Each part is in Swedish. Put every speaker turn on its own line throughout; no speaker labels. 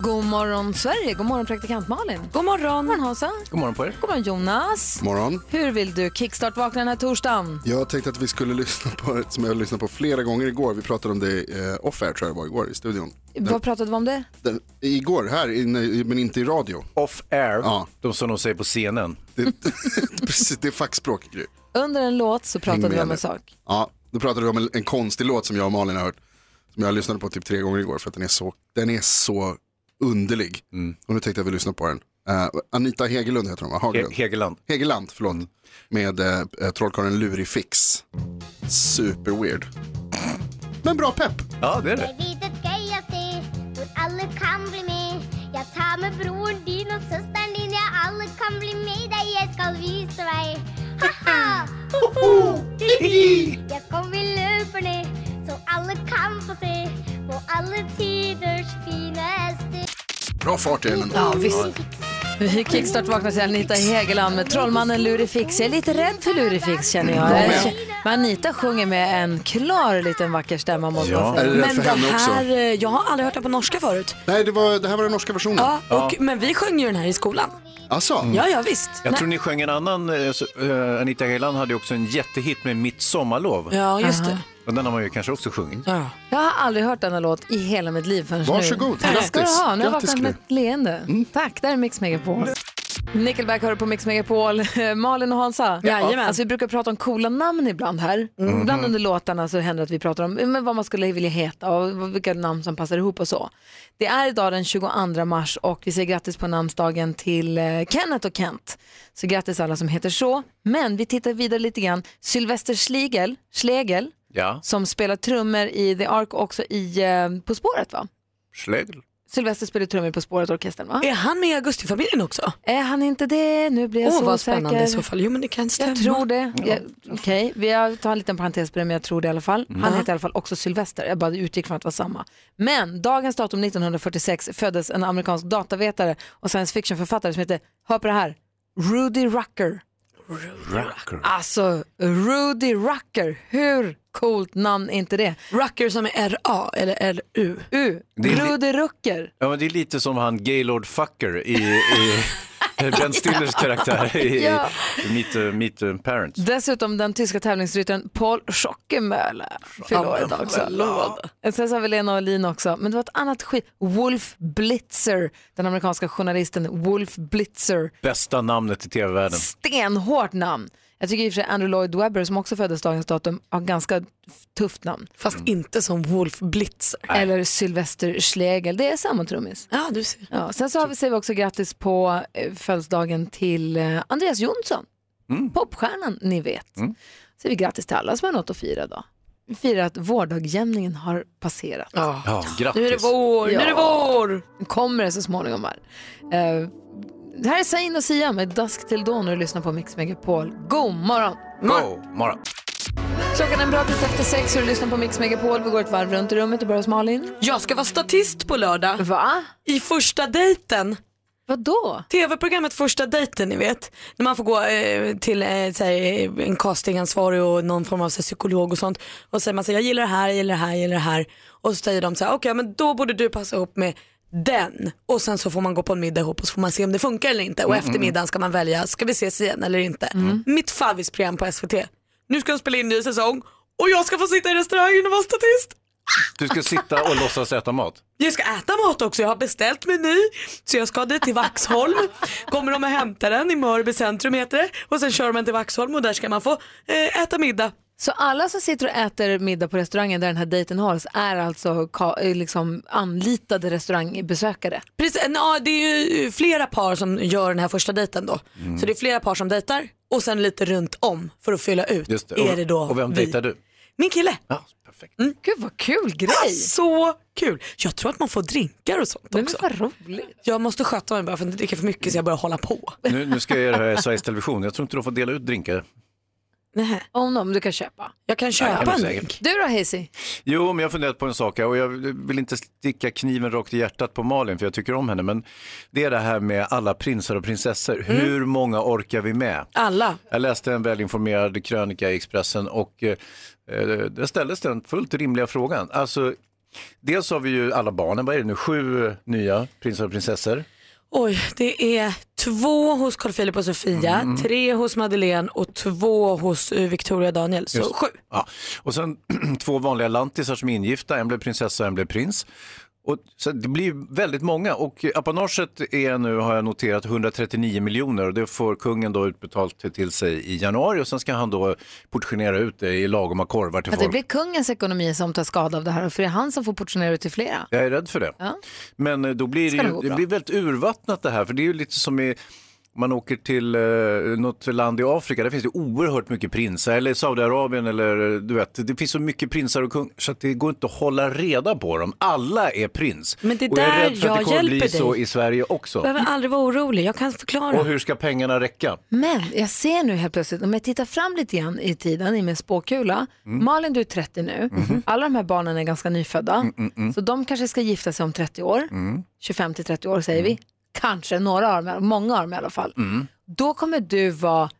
God morgon Sverige, god morgon praktikant Malin. God morgon. God morgon Hansa.
God morgon på er.
God morgon Jonas.
morgon.
Hur vill du kickstart-vakna den här torsdagen?
Jag tänkte att vi skulle lyssna på ett som jag har lyssnat på flera gånger igår. Vi pratade om det eh, off-air tror jag det var igår i studion.
Vad pratade vi om det?
Den, igår här, inne, i- men inte i radio.
Off air,
Ja.
de som de säger på scenen.
Det, precis, det är fackspråk Gry.
Under en låt så pratade
Häng
vi
med
om
nu.
en sak.
Ja, då pratade vi om en, en konstig låt som jag och Malin har hört. Som jag lyssnade på typ tre gånger igår för att den är så, den är så underlig. Och nu tänkte jag vi lyssna på den. Eh, Anita Hegelund heter hon va?
Mm. He Mm.
Hagelund.
Hegeland.
Hegeland, förlåt. Med eh, eh, trollkarlen Lurifix. Super weird. Men bra pepp.
Ja, det är det.
Jag vet ett grej jag ser hur alla kan bli med Jag tar med bror din och systern din Ja, alla kan bli med dig Jag ska visa dig Haha! Hoho! Hihi! Jag kommer löpa ner så alla kan få se på alla tiders finaste
Bra fart i den ändå.
Ja, visst. Nu kickstart vaknar till Anita Hegeland med trollmannen Lurifix. Jag är lite rädd för Lurifix känner jag.
Jag med.
Men Anita sjunger med en klar liten vacker stämma måste man
Ja.
säga.
Är du rädd
Men
för
det
henne
här,
också?
eh, jag har aldrig hört det på norska förut.
Nej, det, var, det här var den norska versionen.
Ja, och, Men vi sjöng ju den här i skolan.
Alltså,
Ja, ja visst.
Mm. Jag tror ni sjöng en annan, eh, så- eh, Anita Hegeland hade ju också en jättehit med Mitt sommarlov.
Ja, just det.
Och den har man ju kanske också sjungit.
Ja.
Jag har aldrig hört denna låt i hela mitt liv förrän
Varsågod,
nu. Tack
grattis.
ska du ha. Nu har jag
Grattis,
vaknat med
Gry. Mm.
ett leende. Tack, där är Mix Megapol. Nickelback hör på Mix Megapol. Malin och Hansa.
Jajamän.
Alltså, vi brukar prata om coola namn ibland
Mm.
här.
Mm-hmm.
Ibland under låtarna så händer det att vi pratar om eh, men vad man skulle vilja heta och vad- vilka namn som passar ihop och så. Det är idag den 22 mars och vi säger grattis på namnsdagen till eh, Kenneth och Kent. Så grattis alla som heter så. Men vi tittar vidare lite grann. Sylvester Schlegel, Schlegel
Ja,
som spelar trummor i The Ark också i eh, På spåret va?
Schlegel.
Sylvester spelar trummor i På spåret-orkestern va?
Är han med i Augustifamiljen också?
Är han inte det? Nu blir jag
Åh,
så
vad
osäker.
spännande i så fall. Jo, men det kan stämma.
Jag tror det. Jag- Okej, vi har- tar en liten parentes på det men jag tror det i alla fall.
Mm.
Han heter i alla fall också Sylvester. Jag bara utgick från att det var samma. Men dagens datum 1946 föddes en amerikansk datavetare och science fiction-författare som heter, hör på det här, Rudy Rucker.
Rocker.
Alltså, Rudy Rucker. Hur coolt namn är inte det?
Rucker som är R-A eller R-U.
U,
Det är li-
Rudy Rucker.
Ja, men det är lite som han Gaylord Fucker i, i Ben Stillers karaktär i,
Ja.
i Meet, eh, Meet eh, Parents.
Dessutom den tyska tävlingsryttaren Paul Schockemöhle fyller år idag också. Och Sen så har vi Lena Olin också, men det var ett annat skit. Wolf Blitzer, den amerikanska journalisten Wolf Blitzer.
Bästa namnet i tv-världen.
Stenhårt namn. Jag tycker i och för sig Andrew Lloyd Webber som också föddes dagens datum har ganska tufft namn.
Fast inte som Wolf Blitzer.
Eller Sylvester Schlegel, det är samma trummis.
Ja, du ser.
Ja, sen så har vi, säger vi också grattis på eh, födelsedagen till eh, Andreas Jonsson, popstjärnan ni vet. Så säger vi grattis till alla som har något att fira idag. Vi firar att vårdagjämningen har passerat.
Ja, grattis.
Nu är det vår, nu är det vår!
Den kommer det så småningom här. Eh, det här är Zayn och Sia med Dusk till Dawn och du lyssnar på Mix Megapol. God morgon!
Go, morgon.
Klockan är en bra bit efter sex och du lyssnar på Mix Megapol. Vi går ett varv runt i rummet och börjar hos Malin.
Jag ska vara statist på lördag.
Va?
I första dejten.
Vadå?
Tv-programmet Första dejten, ni vet. När man får gå eh, till eh, så här, eh, en castingansvarig och någon form av så här, psykolog och sånt. Och säger man så här, jag gillar det här, jag gillar det här, jag gillar det här. Och så säger de så här, okej men då borde du passa ihop med den. Och sen så får man gå på en middag ihop och så får man se om det funkar eller inte. Och efter middagen ska man välja, ska vi ses igen eller inte? Mitt favvisprogram på SVT. Nu ska de spela in en ny säsong och jag ska få sitta i restaurangen och vara statist.
Du ska sitta och låtsas äta mat.
Jag ska äta mat också, jag har beställt meny. Så jag ska dit till Vaxholm. Kommer de och hämtar den i Mörby centrum heter det. Och sen kör man till Vaxholm och där ska man få eh, äta middag.
Så alla som sitter och äter middag på restaurangen där den här dejten hålls är alltså ka- eh, liksom anlitade restaurangbesökare?
Precis, ja, det är ju flera par som gör den här första dejten då.
Mm.
Så det är flera par som dejtar och sen lite runt om för att fylla ut.
Just det.
Är
Och-
det då
och vem
vi?
dejtar du?
Min kille. Mm.
Ja, perfekt.
Gud vad kul grej.
Så kul. Jag tror att man får drinkar och sånt
Men
också.
vad roligt.
Jag måste sköta mig bara för att inte dricka för mycket så jag börjar hålla på.
Nu, nu ska jag göra det här i Sveriges Television. Jag tror inte de får dela ut drinkar.
Nej.
Om dem du kan köpa.
Jag kan
Nej,
köpa
men
en
säkert.
drink.
Du då Hazy?
Jo, men jag har funderat på en sak här, och jag vill inte sticka kniven rakt i hjärtat på Malin för jag tycker om henne. Men det är det här med alla prinsar och prinsessor. Hur många orkar vi med?
Alla.
Jag läste en välinformerad krönika i Expressen och eh, eh, där ställdes den fullt rimliga frågan. Alltså, dels har vi ju alla barnen, vad är det nu, sju eh, nya prinsar och prinsessor.
Oj, det är två hos Carl Philip och Sofia, tre hos Madeleine och två hos eh, Victoria Daniel. Så sju.
Ja. Och sen två vanliga lantisar som är ingifta, en blev prinsessa och en blev prins. Och, så det blir ju väldigt många och apanaget är nu, har jag noterat, 139 miljoner och det får kungen då utbetalt till- till sig i januari och sen ska han då portionera ut det i lagoma korvar till
Att det
folk.
blir kungens ekonomi som tar skada av det här för det är han som får portionera ut till flera.
Jag är rädd för det.
Ja.
Men eh, då blir det,
Ska det
ju,
gå
det
bra?
blir väldigt urvattnat det här, för det är ju lite som i man åker till eh, något land i Afrika, där finns det oerhört mycket prinsar, eller Saudiarabien, eller eh, du vet, det finns så mycket prinsar och kung, så att det går inte att hålla reda på dem. Alla är prins.
Men det
och jag är
där
rädd för att det
jag
kommer bli
hjälper
så
dig.
i Sverige
Du
också.
behöver aldrig vara orolig, jag kan förklara.
Och hur ska pengarna räcka?
Men jag ser nu helt plötsligt, om jag tittar fram lite igen i tiden i min spåkula.
Mm.
Malin du är 30 nu,
Mhm.
alla de här barnen är ganska nyfödda.
Mm,
Så de kanske ska gifta sig om 30 år,
Mm.
25 till 30 år
Mm.
säger vi. Kanske några av dem, många av dem i alla fall. Då kommer du vara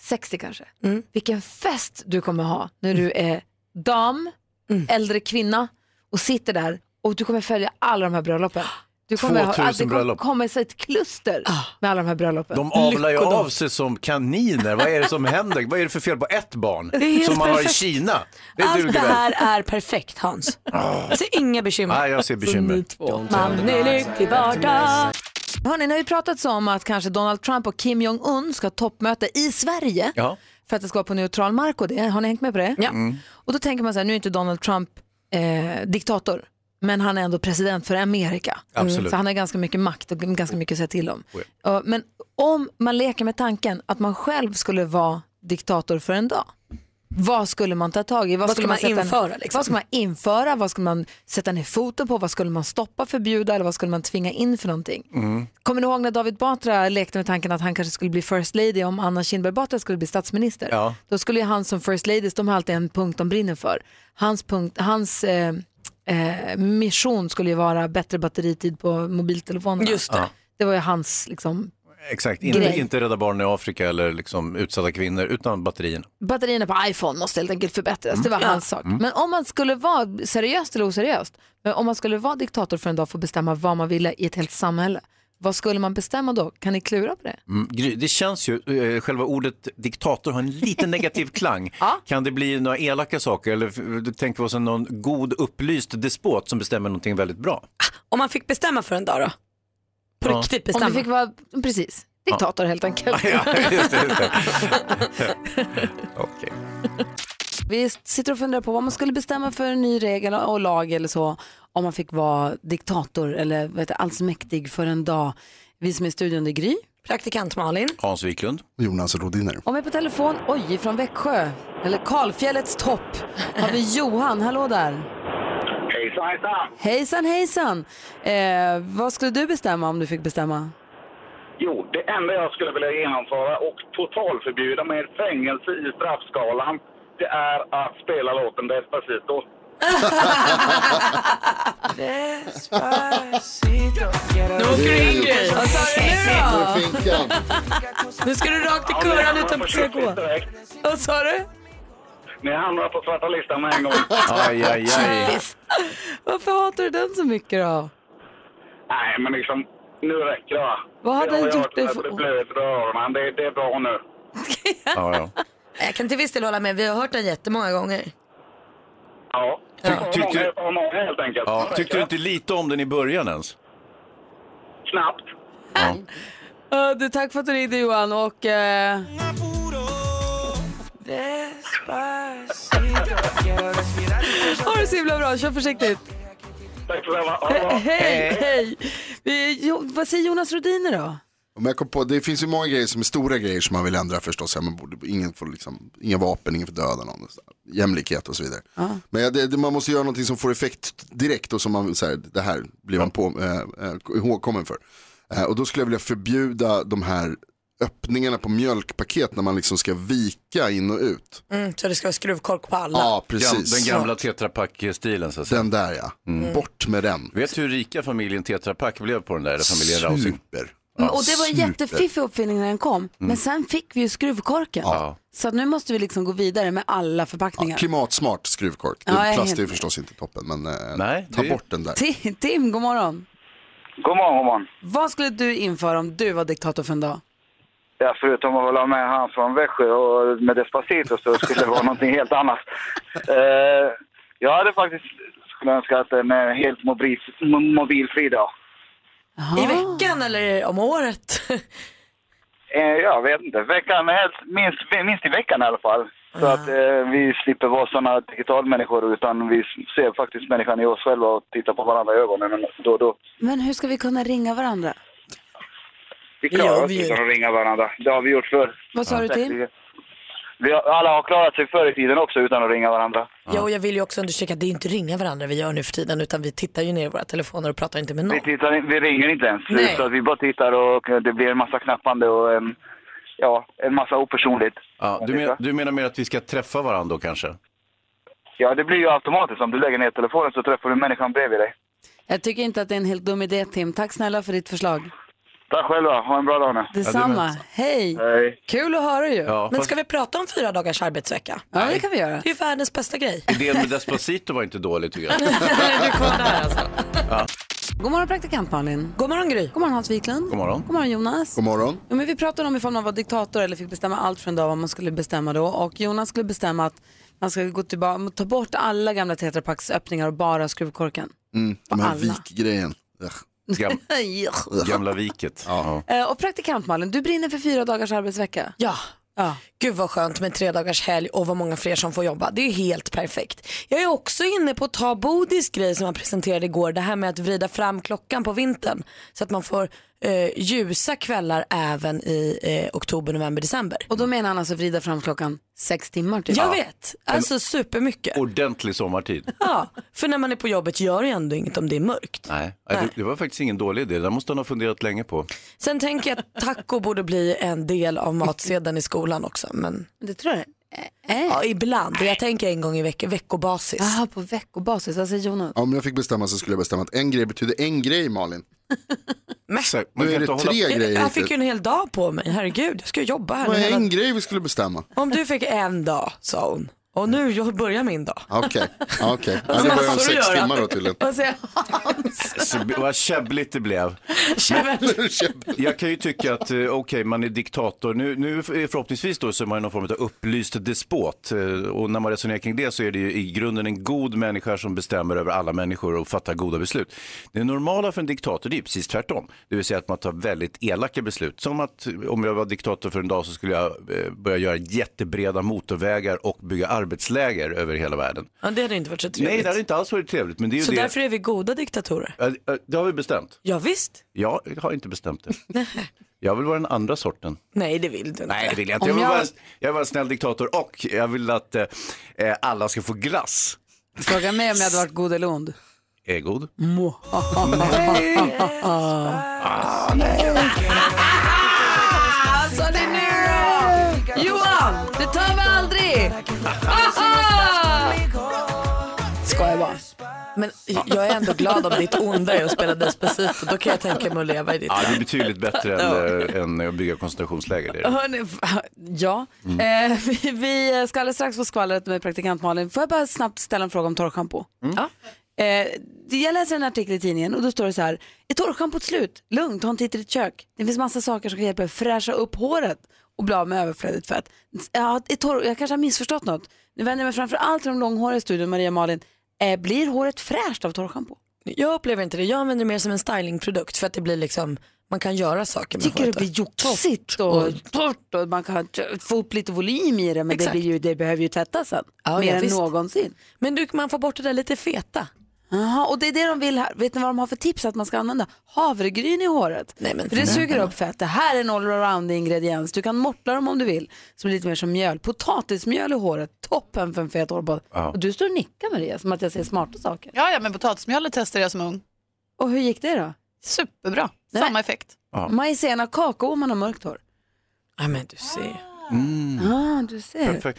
60 kanske.
Mm.
Vilken fest du kommer ha när du är dam,
Mm.
äldre kvinna och sitter där och du kommer följa alla de här bröllopen. Du kommer ha,
2000
att det kommer
bröllop. Ah.
komma sig ett kluster med alla de här bröllopen.
De avlar ju
Lyckodom.
av sig som kaniner. Vad är det som händer? Vad är det för fel på ett
är
barn
helt
som man har i
perfekt.
Kina? Det duger
Allt det
väl?
här är perfekt Hans.
Ah.
Alltså inga bekymmer.
Nej, jag ser bekymmer.
Man är lycklig vardag.
Hörrni, ni har ju pratat så om att kanske Donald Trump och Kim Jong-Un ska ha toppmöte i Sverige
Ja.
för att det ska vara på neutral mark och det. Har ni hängt med på det?
Ja. Mm.
Och då tänker man så här, nu är inte Donald Trump eh, diktator, men han är ändå president för Amerika. Mm.
Absolut.
Så han har ganska mycket makt och ganska mycket att säga till om.
Oh
Eh, Men om man leker med tanken att man själv skulle vara diktator för en dag, vad skulle man ta tag i?
Vad skulle man
sätta
införa,
En,
liksom?
Vad skulle man införa? Vad skulle man sätta ner foten på? Vad skulle man stoppa, förbjuda eller vad skulle man tvinga in för någonting?
Mm.
Kommer ni ihåg när David Batra lekte med tanken att han kanske skulle bli first lady om Anna Kinberg Batra skulle bli statsminister?
Ja.
Då skulle ju han som first ladies, de har alltid en punkt de brinner för. Hans, punkt, hans eh, eh, mission skulle ju vara bättre batteritid på mobiltelefonerna.
Just det.
Det var ju hans liksom,
Exakt, inte,
Grej.
inte rädda barnen i Afrika eller liksom utsatta kvinnor utan batterierna.
batterierna på iPhone måste helt enkelt förbättras.
Mm.
Det var hans sak. Men om man skulle vara, seriöst eller oseriöst, men om man skulle vara diktator för en dag och få bestämma vad man ville i ett helt samhälle, vad skulle man bestämma då? Kan ni klura på det?
Mm. Gry, Det känns ju, eh, själva ordet diktator har en lite negativ klang. Kan det bli några elaka saker eller f- du tänker vi oss en någon god upplyst despot som bestämmer någonting väldigt bra?
Ah, Om man fick bestämma för en dag då? På
Ja.
riktigt
Om
bestämma.
du fick vara, precis, diktator helt enkelt.
ja, just det. Just det. Okej.
Vi sitter och funderar på vad man skulle bestämma för en ny regel och lag eller så om man fick vara diktator eller vad heter, det, allsmäktig för en dag. Vi som är i studion, det är Gry.
Praktikant Malin.
Hans Wiklund.
Jonas Rodiner.
Och med på telefon, oj, från Växjö, eller Karlfjällets topp, har vi Johan. Hallå där.
Hejsan, hejsan!
Hejsan hejsan. Eh, vad skulle du bestämma om du fick bestämma?
Jo, det enda jag skulle vilja genomföra och totalförbjuda med fängelse i straffskalan, det är att spela låten Despacito.
Nu åker du in Gry. Vad sa du nu då?
Finkan.
Nu ska du rakt i kurran utan att försöka gå.
direkt.
Vad sa du?
Ni hamnar på svarta listan med en gång.
Aj, aj, aj.
Varför hatar du den så mycket då?
Nej, men liksom, nu räcker det va?
Vad hade
jag
han gjort dig för-
för... Det blöder i öronen, det, det är bra nu.
Ja, ja.
Jag kan till viss del hålla med. Vi har hört den jättemånga gånger.
Ja,
Ty-
ja.
tyckte du-
Många, för många helt enkelt.
Ja, tyckte du inte lite om den i början ens?
Snabbt.
Ja.
Eh, du, tack för att du ringde Johan och... Eh... Ha det så himla bra, kör försiktigt.
Tack för det. Ha det bra.
Hej, hej. Vi, jo, vad säger Jonas Rhodiner då?
Men jag kom på, det finns ju många grejer som är stora grejer som man vill ändra förstås. Ja, man borde, ingen får liksom, inga vapen, ingen får döda någon. och så där. Jämlikhet och så vidare. Men ja, det, det, man måste göra någonting som får effekt direkt och som man, så här, det här blir man på, eh, eh, ihågkommen för. Eh, och då skulle jag vilja förbjuda de här öppningarna på mjölkpaket när man liksom ska vika in och ut.
Mm, så det ska vara skruvkork på alla.
Ja,
Gam,
precis.
den gamla Tetra Pak-stilen så att säga. Mm.
Den där ja, Mm. bort med den.
Vet du hur rika familjen Tetra Pak blev på den där eller familjen Rausing?
Super.
Mm,
Men- Och det var en
super.
jättefiffig uppfinning när den kom. Men sen fick vi ju skruvkorken. Så att nu måste vi liksom gå vidare med alla förpackningar.
Klimatsmart skruvkork.
Ja, jag
det
är
plast är ju
helt-
förstås inte toppen men eh,
Nej,
ta
det-
bort den där.
Ti- Tim, god morgon.
God morgon, god morgon.
Vad skulle du införa om du var diktator för en dag?
Ja, förutom att hålla med han från Växjö och med Despacito så skulle det vara någonting helt annat. Eh, jag hade faktiskt skulle önska att en eh, helt mobil, mo- mobilfri dag.
I veckan eller om året.
Eh, jag vet inte, veckan, är helst, minst, minst i veckan i alla fall. Så att eh, vi slipper vara sådana digitalmänniskor utan vi ser faktiskt människan i oss själva och tittar på varandra i ögonen då och då.
Men hur ska vi kunna ringa varandra?
Vi
gör
klarar oss
vi ju.
utan att ringa varandra. Det har vi gjort förr.
Vad sa du Tim?
Vi har, alla har klarat sig förr i tiden också utan att ringa varandra.
ja, och jag vill ju också understryka att det är inte ringa varandra vi gör nu för tiden utan vi tittar ju ner i våra telefoner och pratar inte med någon.
Vi, tittar, in- vi ringer inte ens,
Nej.
så att vi bara tittar och eh, det blir en massa knappande och en, ja, en massa opersonligt.
Ja, du, men, du menar mer att vi ska träffa varandra då kanske?
Ja, det blir ju automatiskt. Om du lägger ner telefonen så träffar du människan bredvid dig.
Jag tycker inte att det är en helt dum idé Tim. Tack snälla för ditt förslag.
Tack själva, ha en bra dag nu.
Detsamma. Hej.
Hej.
Kul att höra ju. Ja,
Ja,
Men
fast
ska vi prata om fyra dagars arbetsvecka?
det kan vi göra.
Det är ju världens bästa grej.
idén med Despacito var inte dålig tycker jag.
du kvar där alltså.
God morgon praktikant Malin.
God morgon Gry.
God morgon Hans Wiklund.
God morgon.
God morgon Jonas.
God morgon.
Jo, men vi pratade om ifall man var diktator eller fick bestämma allt för en dag vad man skulle bestämma då. Och Jonas skulle bestämma att man ska gå tillbaka, ta bort alla gamla Tetra Paks öppningar och bara ha skruvkorken.
Mm, de här
alla.
vikgrejen. Ugh.
Gam,
Ej.
gamla viket. Ja.
Eh, Och praktikant Malin, du brinner för fyra dagars arbetsvecka.
Ja.
Ja.
Gud vad skönt med tre dagars helg och vad många fler som får jobba. Det är ju helt perfekt. Jag är också inne på att ta Bodis grej som han presenterade igår. Det här med att vrida fram klockan på vintern. Så att man får eh, ljusa kvällar även i eh, oktober, november, december.
Och då menar han alltså vrida fram klockan sex timmar typ.
Jag vet, alltså supermycket.
Ordentlig sommartid.
Ja, för när man är på jobbet gör det ändå inget om det är mörkt.
Nej, Nej. Det, det var faktiskt ingen dålig idé. Det måste han ha funderat länge på.
Sen tänker jag att taco borde bli en del av matsedeln i skolan också. Men
Det tror jag. Eh, eh.
ja, ibland, jag tänker en gång i veck- veckobasis.
Aha, på veckobasis, Alltså, vad säger Jonas?
Om jag fick bestämma så skulle jag bestämma att en grej betyder en grej Malin.
Exakt. Man
Nu
kan
är det
inte
tre
hålla...
Jag,
grejer.
jag fick ju
hittills.
en hel dag på mig, herregud. Jag ska ju jobba här.
Vad
nu
är
hela...
en grej vi skulle bestämma?
Om du fick en dag, sa hon. Och nu jag börjar min dag.
Ah, Okej, Ah, okej. Ja, det var om
Massor att
sex
göra.
timmar då tydligen.
Vad säger
Så, vad käbbligt det blev. Jag kan ju tycka att, eh, okej, man är diktator. Nu, nu är förhoppningsvis då så är man ju någon form av upplyst despot. Eh, Och när man resonerar kring det så är det ju i grunden en god människa som bestämmer över alla människor och fattar goda beslut. Det normala för en diktator det är ju precis tvärtom. Det vill säga att man tar väldigt elaka beslut. Som att eh, om jag var diktator för en dag så skulle jag eh, börja göra jättebreda motorvägar och bygga arbetsläger över hela världen.
Ja, det hade inte varit så trevligt.
Nej, det hade inte alls varit trevligt. Men det är ju
Så
det.
därför är vi goda diktatorer.
Ja, ja, Det har vi bestämt.
Ja, visst.
Jag har inte bestämt det. Jag vill vara den andra sorten.
Nej, det vill du inte.
Nej, det vill jag inte.
Om
Jag vill,
jag-
Vara, en- jag vill vara en snäll diktator och jag vill att eh, eh, alla ska få glass.
Fråga mig om jag hade varit god eller ond.
Är god.
Alltså det är nu då! Johan, det tar vi aldrig! Skojar bara.
Men jag är ändå glad om ditt onda är att spela Despacito. Då kan jag tänka mig att leva i ditt
Ja, det är
land.
betydligt bättre än, eh, än att bygga koncentrationsläger. Det är det.
Hörni, va- ja. Eh, vi, vi ska alldeles strax få skvallret med praktikant Malin. Får jag bara snabbt ställa en fråga om torrschampo? Ja. Eh, det- jag läser en artikel i tidningen och då står det så här. Är torrschampot slut? Lugnt, ta en titt i ditt kök. Det finns massa saker som kan hjälpa dig att fräscha upp håret och bli av med överflödigt fett. Ja, är torr, jag kanske har missförstått något. Nu vänder jag mig framför allt till de långhåriga i studion, Maria och Malin. Eh, blir håret fräscht av torrschampo?
Jag upplever inte det. Jag använder det mer som en stylingprodukt för att det blir liksom, man kan göra saker med
tycker det
håret.
blir joxigt och torrt och man kan t- få upp lite volym i det men det,
Exakt.
blir ju, det behöver ju tvättas sen.
Ja,
Mer
ja,
än
visst.
någonsin.
Men du, man får bort det där lite feta.
Jaha, och det är det de vill här. Vet ni vad de har för tips att man ska använda? Havregryn i håret.
Nej, men
för det
för
suger upp fett. Det här är en allround ingrediens. Du kan mortla dem om du vill. Som är lite mer som mjöl. Potatismjöl i håret. Toppen för en fet hårbad.
Ja.
Och du står och nickar med det som att jag säger smarta saker.
Ja, ja, men potatismjölet testade jag som ung.
Och hur gick det då?
Superbra,
Nej.
samma effekt.
Ja.
Majsena kakao om man har mörkt hår.
Ja, men du ser.
Ah, du ser.
Mm. Perfekt.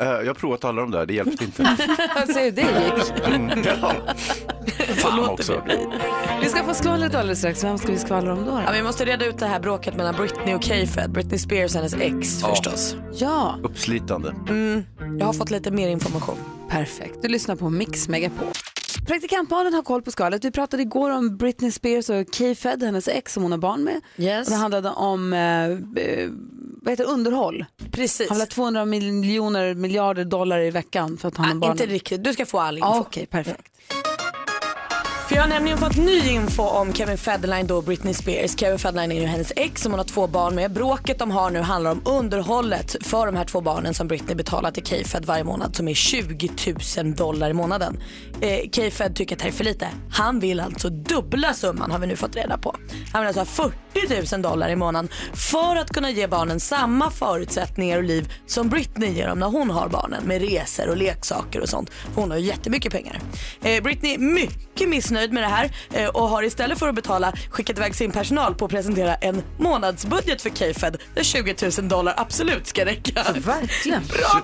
Eh, jag har provat alla de där, det hjälpte inte.
Jag ser hur det gick.
Mm, ja. Fan också.
Vi ska få skvallret alldeles strax. Vem ska vi skvallra om då? då?
Ja, vi måste reda ut det här bråket mellan Britney och K-Fed. Britney Spears, hennes ex förstås. Mm,
Ja,
Uppslitande.
Jag har fått lite mer information.
perfekt. Du lyssnar på Mix Megapol. Praktikantbarnen har koll på skalet. Vi pratade igår om Britney Spears och K-Fed, hennes ex som hon har barn med.
Yes.
Och det handlade om eh, eh, vad heter det, underhåll.
Precis.
Han vill ha 200 miljoner miljarder dollar i veckan för att han har
Ah,
barn.
inte riktigt, du ska få all info.
ah, Okej, perfekt.
För jag har nämligen fått ny info om Kevin Federline då och Britney Spears. Kevin Federline är ju hennes ex som hon har två barn med. Bråket de har nu handlar om underhållet för de här två barnen som Britney betalar till K-Fed varje månad som är 20 000 dollar i månaden. Eh, K-Fed tycker att det här är för lite. Han vill alltså dubbla summan har vi nu fått reda på. Han vill alltså ha 40 000 dollar i månaden för att kunna ge barnen samma förutsättningar och liv som Britney ger dem när hon har barnen med resor och leksaker och sånt. För hon har ju jättemycket pengar. Eh, Britney är mycket missnöjd med det här eh, och har istället för att betala skickat iväg sin personal på att presentera en månadsbudget för K-Fed där 20 000 dollar absolut ska räcka.
Verkligen.
Bra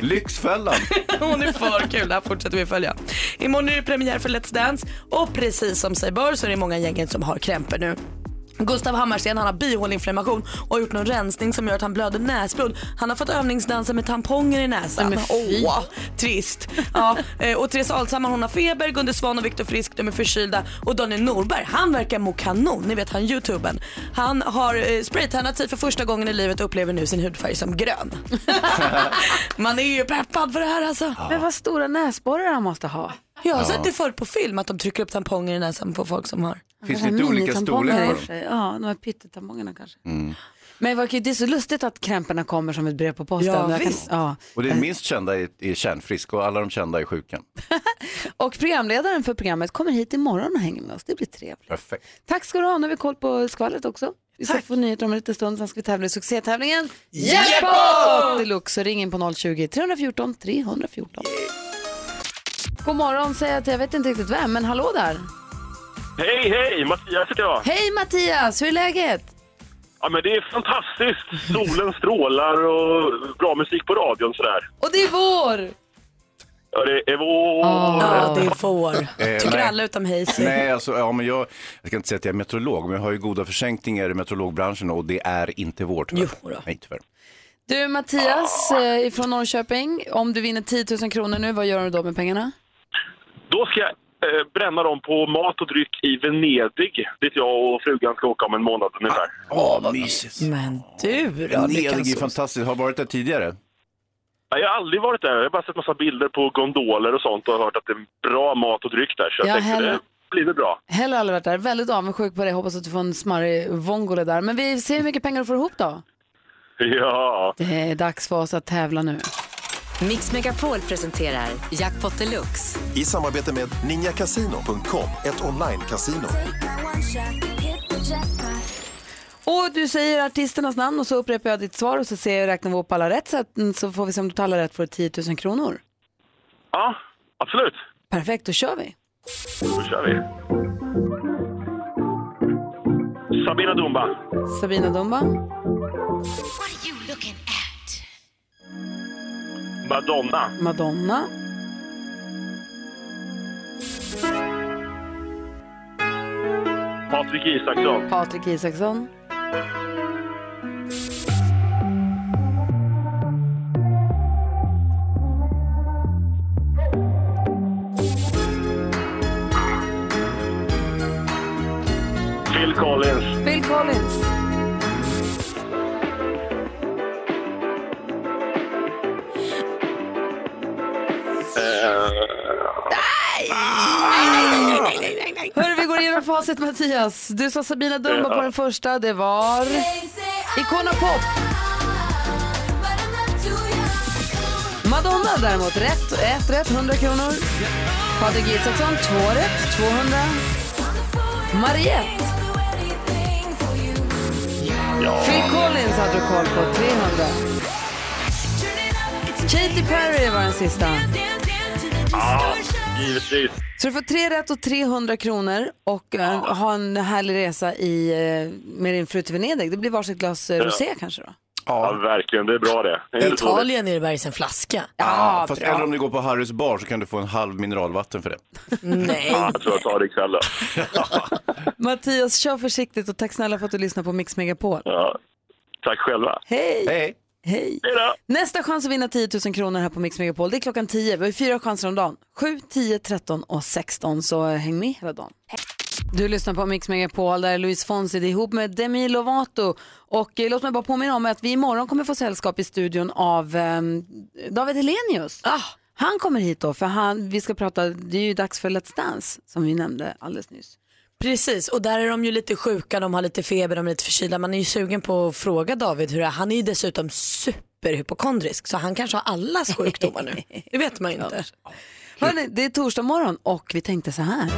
Lyxfällan.
Hon är för kul, det här fortsätter vi följa. Imorgon är det premiär för Let's Dance och precis som sig bör så är det många i gänget som har krämpor nu. Gustav Hammarsten han har bihåleinflammation och har gjort någon rensning som gör att han blöder näsblod. Han har fått övningsdansa med tamponger i näsan. Åh, trist. Ja, eh, och Therese Alshammar hon har feber, Gunde Svan och Viktor Frisk de är förkylda och Daniel Norberg han verkar må kanon, ni vet han youtubern. Han har eh, spraytannat sig för första gången i livet och upplever nu sin hudfärg som grön. Man är ju peppad för det här alltså.
Men vad stora näsborrar han måste ha.
Jag har sett det förr på film att de trycker upp tamponger i näsan på folk som har.
Finns lite olika
Minitamponger
storlekar
i
på
och
dem.
för sig. Ja, de här pyttetampongerna kanske.
Mm.
Men vad kul, det är så lustigt att krämporna kommer som ett brev på posten.
Ja,
Jag kan-
visst.
ja.
Och det minst kända är, är kärnfrisk och alla de kända är sjuka.
Och programledaren för programmet kommer hit imorgon och hänger med oss. Det blir trevligt.
Perfekt.
Tack ska du ha. Nu har vi koll på skvallret också. Vi ska få nyheter om en liten stund. Sen ska vi tävla i succétävlingen Jackpot Deluxe. Så ring in på 020-314 314. God morgon säger jag till, jag vet inte riktigt vem, men hallå där.
Hej, hej! Mattias heter jag.
Hej Mattias, hur är läget?
Ja, men det är fantastiskt. Solen strålar och bra musik på radion sådär.
Och det är vår!
Ja, det är vår...
Ja, det är får. Tycker
nej.
alla utom Hazy.
Nej, alltså, ja, men jag, jag ska inte säga att jag är meteorolog, men jag har ju goda försänkningar i meteorologbranschen och det är inte vårt. tyvärr.
Jo då.
Nej, tyvärr.
Du Mattias eh, från Norrköping, om du vinner 10 000 kronor nu, vad gör du då med pengarna?
Då ska jag eh, bränna dem på mat och dryck i Venedig, dit jag och frugan ska åka om en månad ungefär.
Åh, vad mysigt.
Men du alltså. då?
Venedig är
Niklas?
fantastiskt. Har varit där tidigare?
Ja, Jag har aldrig varit där. Jag har bara sett massa bilder på gondoler och sånt och hört att det är bra mat och dryck där. Så jag
Ja,
tänkte,
heller-
det blir väl bra.
Heller aldrig varit där, väldigt avundsjuk på det, hoppas att du får en smarrig vongole där. Men vi ser hur mycket pengar du får ihop då.
Ja.
Det är dags för oss att tävla nu.
Mix Megapol presenterar Jackpot Deluxe.
I samarbete med ninjakasino.com, ett online-casino.
Och du säger artisternas namn och så upprepar jag ditt svar och så ser jag, räknar vi upp alla rätt så, att, så får vi se om du tar alla rätt får du 10 000 kronor.
ja, absolut.
Perfekt, då kör vi.
Då kör vi. Sabina Dumba.
Sabina Dumba,
Madonna.
Madonna,
Patrik Isaksson.
Patrik Isaksson,
Phil Collins.
Bill Collins,
Uh,
Hörru, vi går igenom facit Mattias. Du sa Sabina Dumba på den första, det var Icona Pop. Madonna däremot, rätt, ett rätt, 100 kronor.
Patrik Isaksson, två rätt, 200. Mariette. Phil Collins hade du koll på, 300. Katy Perry var den sista.
Ja, givetvis.
Så du får tre rätt och 300 kronor och eh, ha en härlig resa i, eh, med din fru till Venedig. Det blir varsitt glas eh,
Ja.
rosé kanske då.
Ja, verkligen. Det är bra det. det är dåligt.
Italien är det bergs en flaska.
Ja, fast eller om du går på Harrys bar så kan du få en halv mineralvatten för det.
Nej.
Ja, jag tror jag tar det ikväll då.
Mattias, kör försiktigt och tack snälla för att du lyssnar på Mix Megapol.
Ja. Tack själva.
Hej!
Hej!
Hej! Nästa chans att vinna 10 000 kronor här på Mix Megapol, det är klockan 10. Vi har ju fyra chanser om dagen. 7, 10, 13 och 16, så häng med hela dagen. Du lyssnar på Mix Megapol där Luis Fonsi det är ihop med Demi Lovato. Och eh, låt mig bara påminna om att vi imorgon kommer få sällskap i studion av eh, David Helenius. Han kommer hit då, för han, vi ska prata, det är ju dags för Let's Dance som vi nämnde alldeles nyss.
Precis, och där är de ju lite sjuka, de har lite feber, de är lite förkylda. Man är ju sugen på att fråga David hur det är. Han är ju dessutom superhypokondrisk så han kanske har allas sjukdomar nu. Det vet man ju inte.
Hörrni, det är torsdag morgon och vi tänkte så här.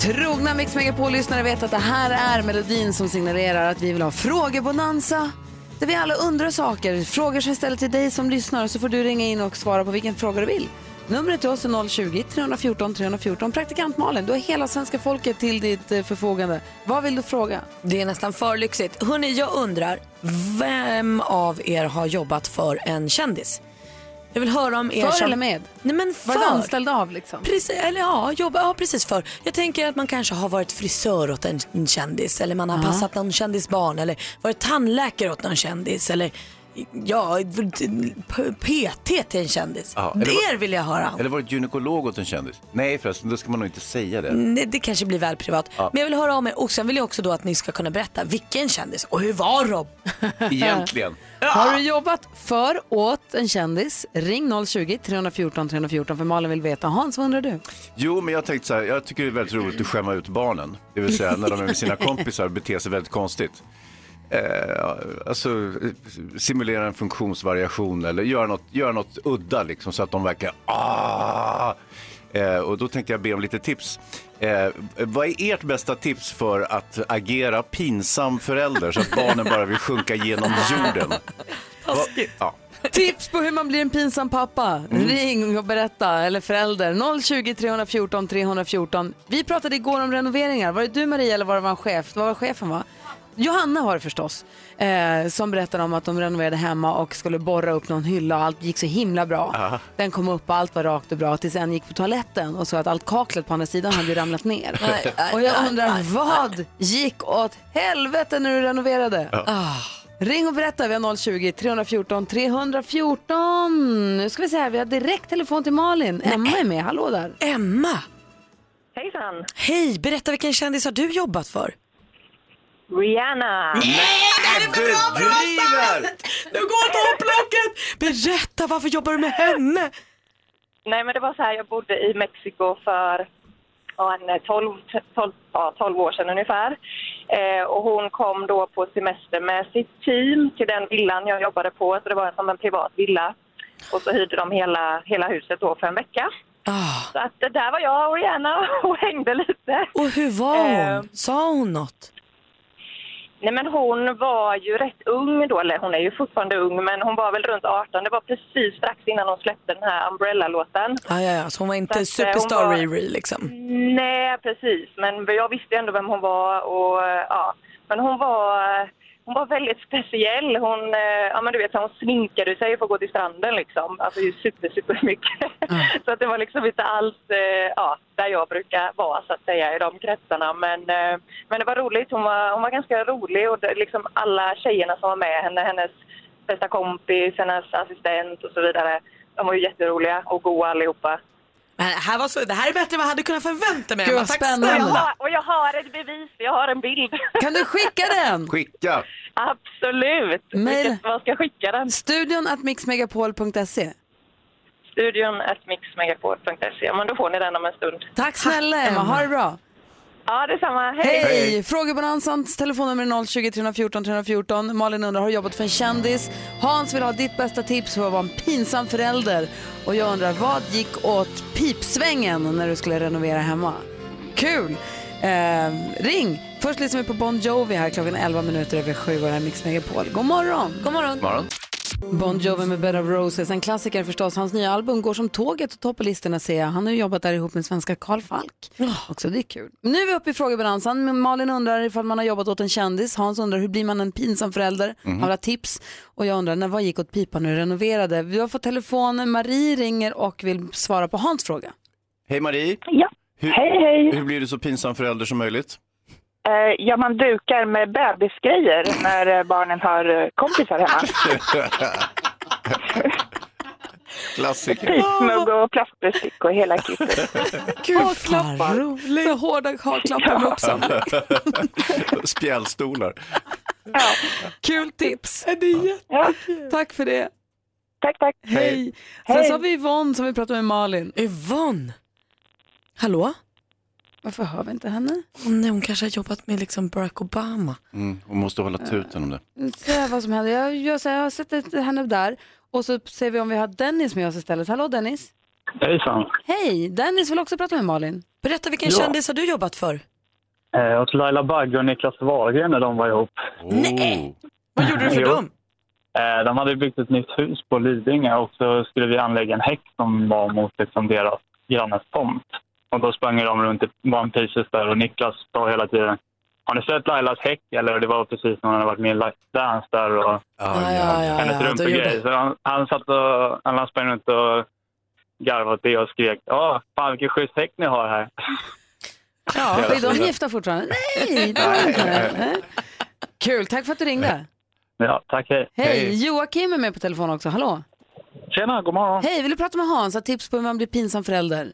Trogna Mix Megapol-lyssnare vet att det här är melodin som signalerar att vi vill ha frågebonanza. Där vi alla undrar saker, frågor som vi ställer till dig som lyssnar så får du ringa in och svara på vilken fråga du vill. Numret till oss är 020-314 314. Praktikant Malin, du har hela svenska folket till ditt eh, förfogande. Vad vill du fråga?
Det är nästan för lyxigt. Hörni, jag undrar, vem av er har jobbat för en kändis? Jag vill höra om er
För
som...
eller med?
Nej men för.
Var du anställd av liksom?
Precis, eller ja, jobba, ja, precis för. Jag tänker att man kanske har varit frisör åt en, en kändis eller man har
Ja.
passat någon kändis barn eller varit tandläkare åt någon kändis eller ja, p- PT till en kändis.
Ja, eller
det
vad-
vill jag höra om.
Eller varit gynekolog åt en kändis. Nej förresten, då ska man nog inte säga det.
Nej, det kanske blir väl privat.
Ja.
Men jag vill höra om er och sen vill jag också då att ni ska kunna berätta vilken kändis och hur var de?
Egentligen.
Har du jobbat för åt en kändis? Ring 020-314 314 för Malin vill veta. Hans, vad undrar du?
Jo, men jag tänkte så här, jag tycker det är väldigt roligt att skämma ut barnen. Det vill säga när de är med sina kompisar och beter sig väldigt konstigt. Eh, alltså eh, simulera en funktionsvariation eller göra något, göra något udda liksom så att de verkligen ah! Eh, och då tänkte jag be om lite tips. Eh, vad är ert bästa tips för att agera pinsam förälder så att barnen bara vill sjunka genom jorden? Taskigt. Ja.
Tips på hur man blir en pinsam pappa. Ring och berätta, eller förälder. 020 314 314. Vi pratade igår om renoveringar. Var det du Maria eller var det vår chef? Vad var chefen va? Johanna var det förstås, eh, som berättade om att de renoverade hemma och skulle borra upp någon hylla och allt gick så himla bra.
Aha.
Den kom upp och allt var rakt och bra tills en gick på toaletten och såg att allt kaklet på andra sidan hade ju ramlat ner.
Nej, nej,
och jag
nej,
undrar,
nej,
vad gick åt helvete när du renoverade?
Ja.
Ah. Ring och berätta, vi har 020-314 314. Nu ska vi se här, vi har direkt telefon till Malin. Emma är med, hallå där.
Emma!
Hejsan!
Hej, berätta vilken kändis har du jobbat för?
Rihanna!
Du driver!
Nu går topplocket! Berätta, varför jobbar du med henne?
Nej, men det var så här, jag bodde i Mexiko för ja, en 12, 12, ja, 12 år sedan ungefär. Eh, och hon kom då på semester med sitt team till den villan jag jobbade på, så det var som en privat villa. Och så hyrde de hela, hela huset då för en vecka. Så att eh, där var jag och Rihanna och hängde lite.
Ah. Och hur var
Eh,
hon? Sa hon något?
Nej men hon var ju rätt ung då, eller hon är ju fortfarande ung men hon var väl runt 18. Det var precis strax innan hon släppte den här Umbrella-låten.
Ah, ja, ja, så hon var
Så
inte
att, eh, hon
superstar
var-
Riri liksom?
Nej precis, men jag visste ju ändå vem hon var och eh, ja. Men hon var, eh, hon var väldigt speciell. Hon, eh, ja men du vet så hon sminkade sig för att gå till stranden liksom. Alltså ju super, super mycket. så att det var liksom inte alls eh, ja, där jag brukar vara så att säga i de kretsarna. Men, eh, men det var roligt. Hon var, hon var ganska rolig och det, liksom alla tjejerna som var med henne, hennes bästa kompis, hennes assistent och så vidare. De var ju jätteroliga och goa allihopa.
Men det här, var så, det här är bättre än vad jag hade kunnat förvänta mig.
Gud,
Emma.
vad
Tack
spännande.
snälla.
Och jag har ett bevis, jag har en bild.
Kan du skicka den?
Skicka!
Absolut.
Mail.
Vilket, vad ska jag skicka den?
Studion at mixmegapol.se.
Studion at mixmegapol.se. Ja, Men då får ni den om en stund.
Tack snälla Emma, ha det bra.
Ja, detsamma. Hej!
Hej! Frågebonanzans telefonnummer är 020 314 314. Malin undrar, har du jobbat för en kändis? Hans vill ha ditt bästa tips för att vara en pinsam förälder. Och jag undrar, vad gick åt pipsvängen när du skulle renovera hemma? Kul! Eh, ring! Först lyssnar vi på Bon Jovi här klockan 11 minuter över 7 och det här är Mix Megapol. God morgon! God morgon!
Morgon.
Bon Jovi med Bed of Roses, en klassiker förstås. Hans nya album går som tåget och topplistorna ser jag. Han har ju jobbat där ihop med svenska Karl Falk.
Ah.
Också det är kul. Nu är vi uppe i frågebalansen. Men Malin undrar ifall man har jobbat åt en kändis. Hans undrar hur blir man en pinsam förälder?
Mhm.
Han vill ha tips. Och jag undrar när vad gick åt pipan när du renoverade? Vi har fått telefonen. Marie ringer och vill svara på Hans fråga.
Hej Marie!
Ja.
Hur,
Hej, hej.
Hur blir du så pinsam förälder som möjligt?
Eh, ja, man dukar med bebisgrejer när eh, barnen har eh, kompisar hemma.
Klassiker.
Fiskmugg och plastbestick och hela kittet.
Gud, Haklappar. Så hårda haklappar med uppsamling.
Spjälstolar.
Kul tips. Det är jättekul. Tack för det.
Tack, tack.
Hej. Sen
Hej.
så har vi Yvonne som vi pratade med Malin.
Yvonne? Hallå?
Varför hör vi inte henne?
Åh nej, hon kanske har jobbat med liksom Barack Obama.
Mm, hon måste hålla tuten om det.
Nu ser jag Mm, vad som händer. Jag, jag, så jag har sett ett- henne där och så ser vi om vi har Dennis med oss istället. Hallå Dennis.
Hejsan.
Hej, Dennis vill också prata med Malin.
Berätta vilken
Ja.
kändis har du jobbat för?
Eh, åt Laila Bagge och Niklas Wahlgren när de var ihop.
Nej! Vad gjorde du för
Jo.
dem?
Eh, de hade byggt ett nytt hus på Lidingö och så skulle vi anlägga en häck som var mot liksom, deras grannes tomt. Och då sprang ju de runt i One Pieces där och Niklas sa hela tiden har ni sett Lailas häck? Eller det var precis när hon hade varit med i Let's Dance där och
Ah, ja, ja,
hennes
ja, då gjorde-
rumpegrej. Så han, han satt och han sprang runt och garvade åt det och skrek ja, fan vilken schysst häck ni har här.
Ja,
Hela
är de
tiden.
gifta fortfarande? Nej, det var inte. Nej. Kul, tack för att du ringde.
Ja, tack hej.
Hej, Joakim är med på telefon också. Hallå.
Tjena, god morgon.
Hej, vill du prata med Hans? Har tips på hur man blir pinsam förälder?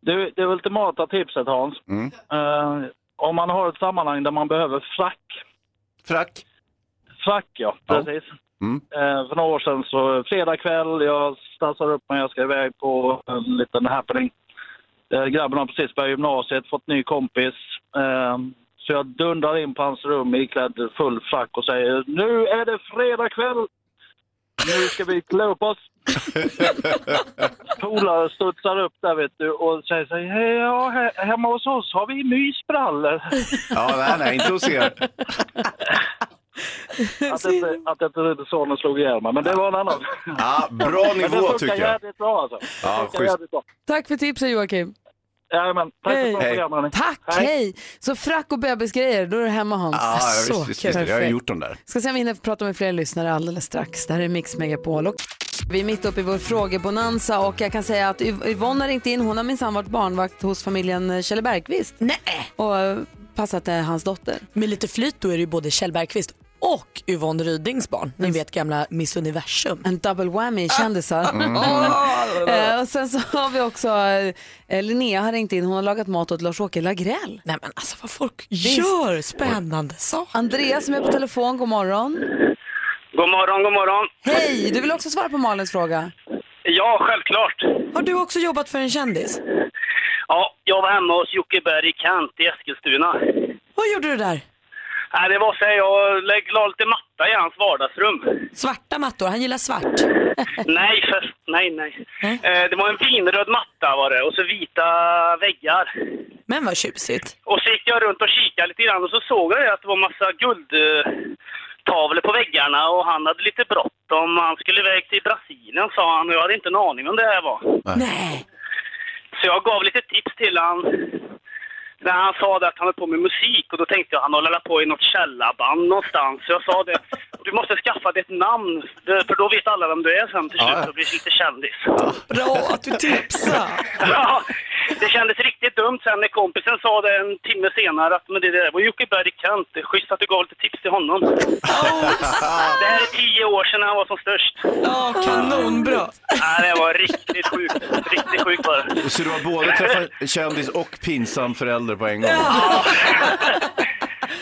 Du, det ultimata tipset Hans.
Mm.
Eh, om man har ett sammanhang där man behöver frack.
Frack?
Frack ja, precis. Eh, för några år sedan så, fredag kväll, jag stansar upp mig, jag ska iväg på en liten happening. Eh, grabben har precis börjat gymnasiet, fått ny kompis. Eh, så jag dundrar in på hans rum iklädd full frack och säger nu är det fredag kväll! Nu ska vi klä upp oss! Polare studsar upp där vet du och säger så här, "Hej, ja, he- hemma hos oss har vi mysbrallor.
Ja, nej, nej, inte hos er.
Att inte, att inte sonen slog ihjäl mig, men det var en annan.
Ja, bra
Men det
nivå,
funkar
tycker jag.
jävligt bra alltså.
Ja,
Det funkar
schysst.
jävligt bra.
Tack för tipsen Joakim.
Jajamän, tack för ett bra program hörni.
Tack, hej. Så frack och bebisgrejer, då är du hemma Hans.
Ah, Ja, visst,
Så
visst, visst, visst. Jag har
Perfekt.
gjort dem där.
Ska se om vi hinner prata med fler lyssnare alldeles strax. Det här är Mix Megapol. Och vi är mitt uppe i vår frågebonanza och jag kan säga att Yv- Yvonne har ringt in. Hon har minsann varit barnvakt hos familjen Kjelle Bergqvist. Nej. Och eh, passat eh, hans dotter.
Med lite flyt då är det ju både Kjell Bergqvist och Yvonne Rydings barn. Ni vet gamla Miss Universum.
Mm. En double whammy kändisar.
Mm.
Eh, och sen så har vi också eh, Linnea har ringt in. Hon har lagat mat åt Lars-Åke Lagrell.
Nej men alltså vad folk Gör spännande saker.
Andreas som är på telefon, god morgon.
God morgon, god morgon.
Hej, du vill också svara på Malins fråga?
Ja, självklart.
Har du också jobbat för en kändis?
Ja, jag var hemma hos Jocke Berg i Kant i Eskilstuna.
Vad gjorde du där?
Nej, det var så här, jag lä- la lite matta i hans vardagsrum.
Svarta mattor, han gillar svart.
nej, för, nej, nej. Eh, det var en vinröd matta var det och så vita väggar.
Men vad tjusigt.
Och så gick jag runt och kikade lite grann och så såg jag ju att det var massa guldtavlor tavlor på väggarna och han hade lite bråttom. Han skulle iväg till Brasilien sa han och jag hade inte en aning om det här var.
Nej.
Så jag gav lite tips till han. När han sa det att han höll på med musik och då tänkte jag han håller på i något källarband någonstans. Så jag sa det, du måste skaffa dig ett namn för då vet alla vem du är sen till
Ja.
slut och blir lite kändis.
Bra att du tipsar.
Ja, det kändes riktigt dumt sen när kompisen sa det en timme senare att men det där var Jocke Berg Kent. Det är Schysst att du gav lite tips till honom. Det här är tio år sedan han var som störst.
Ja, kanonbra.
Ja, det var riktigt sjukt. Riktigt sjukt var det.
Så du har både träffat kändis och pinsam förälder på en gång?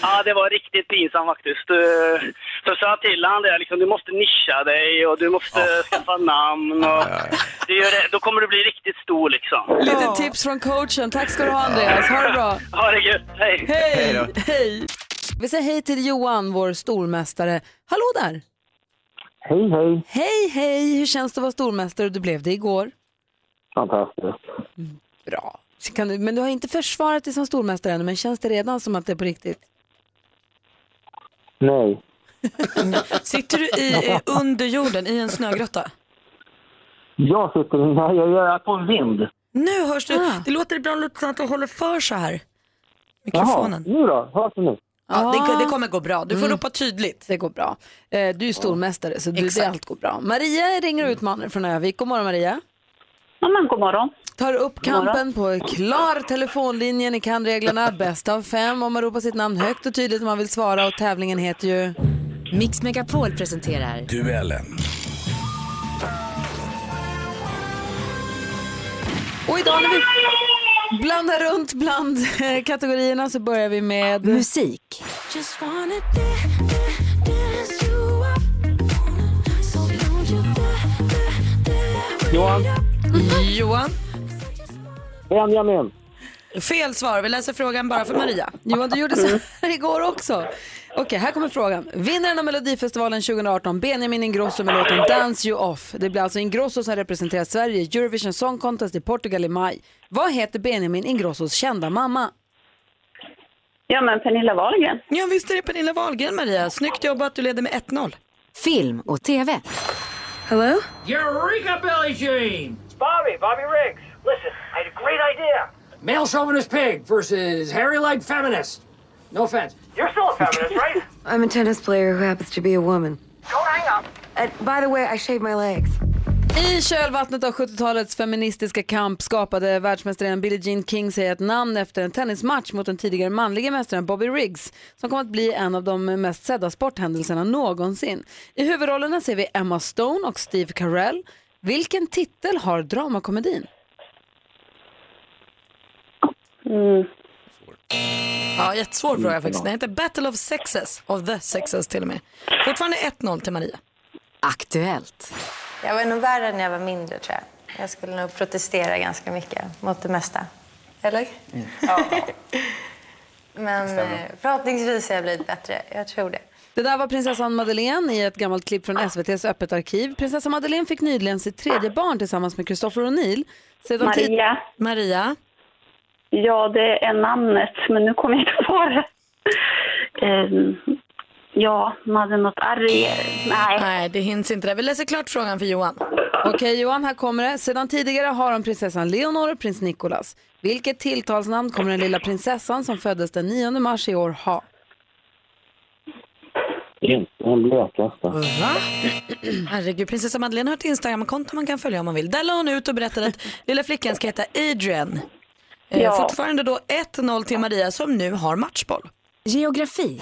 Ja, det var riktigt pinsamt faktiskt. Eh, Så sa jag till han det, liksom, du måste nischa dig och du måste skaffa namn. Och det gör det, då kommer du bli riktigt stor liksom.
Lite tips från coachen. Tack ska du ha Andreas. Ha det bra.
Ha det gött, hej!
Hej! Hej! Vi säger hej till Johan, vår stormästare. Hallå där!
Hej, hej.
Hej, hej! Hur känns det att vara stormästare? Du blev det igår.
Fantastiskt.
Mm, Bra. Så Kan du, men du har inte försvarat dig som stormästare ännu, men känns det redan som att det är på riktigt?
Nej.
Sitter du i, eh, under jorden i en snögrotta?
Jag sitter... Nej, jag jag är på en vind.
Nu hörs du.
Ah.
Det låter ibland lite som att du håller för så här. Mikrofonen.
Jaha, nu då? Hörs det nu?
Ja, det, det kommer gå bra. Du får ropa tydligt.
Ah. Mm. Det går bra. Eh, Du är stormästare, så du, det
Exakt.
allt går bra. Maria ringer och utmanar från Övik. God morgon, Maria.
Ja, men god morgon.
Tar upp kampen på klar telefonlinje. Ni kan reglerna. Bäst av fem om man ropar sitt namn högt och tydligt om man vill svara. Och tävlingen heter ju...
Mix Megapol presenterar
Duellen.
Och idag när vi blandar runt bland eh, kategorierna så börjar vi med... Musik.
Johan.
Johan?
Benjamin.
Fel svar. Vi läser frågan bara för Maria.
Johan, du gjorde så här igår också. Okej, här kommer frågan. Vinnaren av Melodifestivalen 2018, Benjamin Ingrosso med låten Dance You Off. Det blir alltså Ingrosso som representerar Sverige i Eurovision Song Contest i Portugal i maj. Vad heter Benjamin Ingrossos kända mamma?
Ja, men Pernilla Wahlgren.
Ja, visst är det Pernilla Wahlgren, Maria. Snyggt jobbat. Du leder med 1-0.
film och tv.
Hello?
Eureka, Billy Jean! It's Bobby, Bobby Riggs. Listen, I had a great idea. Male chauvinist pig versus hairy leg feminist. No offense. You're still a feminist, right?
I'm a tennis player who happens to be a woman.
Don't hang up.
And Uh, by the way, I shave my legs.
I kölvattnet av 70-talets feministiska kamp skapade världsmästaren Billie Jean King sig ett namn efter en tennismatch mot den tidigare manlige mästaren Bobby Riggs som kom att bli en av de mest sedda sporthändelserna någonsin. I huvudrollerna ser vi Emma Stone och Steve Carell. Vilken titel har dramakomedin?
Ja, jättesvår fråga faktiskt. Den heter Battle of Sexes, of the Sexes till och med. Fortfarande 1-0 till Maria.
Aktuellt.
Jag var nog värre när jag var mindre tror jag. Jag skulle nog protestera ganska mycket mot det mesta. Eller? Ja. Men eh, förhoppningsvis har jag blivit bättre. Jag tror det.
Det där var prinsessan Madeleine i ett gammalt klipp från SVTs Öppet arkiv. Prinsessa Madeleine fick nyligen sitt tredje barn tillsammans med Christopher O'Neill. Sedan tid-
Maria.
Maria.
Ja, det är namnet, men nu kommer jag inte på det. Ehm, ja, man hade något arr i... Nej.
Nej, det hinns inte. Där. Vi läser klart frågan för Johan.
Okej Johan, här kommer det. Sedan tidigare har de prinsessan Leonor och prins Nicolas. Vilket tilltalsnamn kommer den lilla prinsessan som föddes den 9 mars i år ha?
Inte den blekaste.
Va? Herregud, prinsessa Madeleine har ett Instagramkonto man kan följa om man vill. Där la hon ut och berättade att lilla flickan ska heta Adrian. Eh,
Ja.
Fortfarande då 1-0 till Maria som nu har matchboll.
Geografi.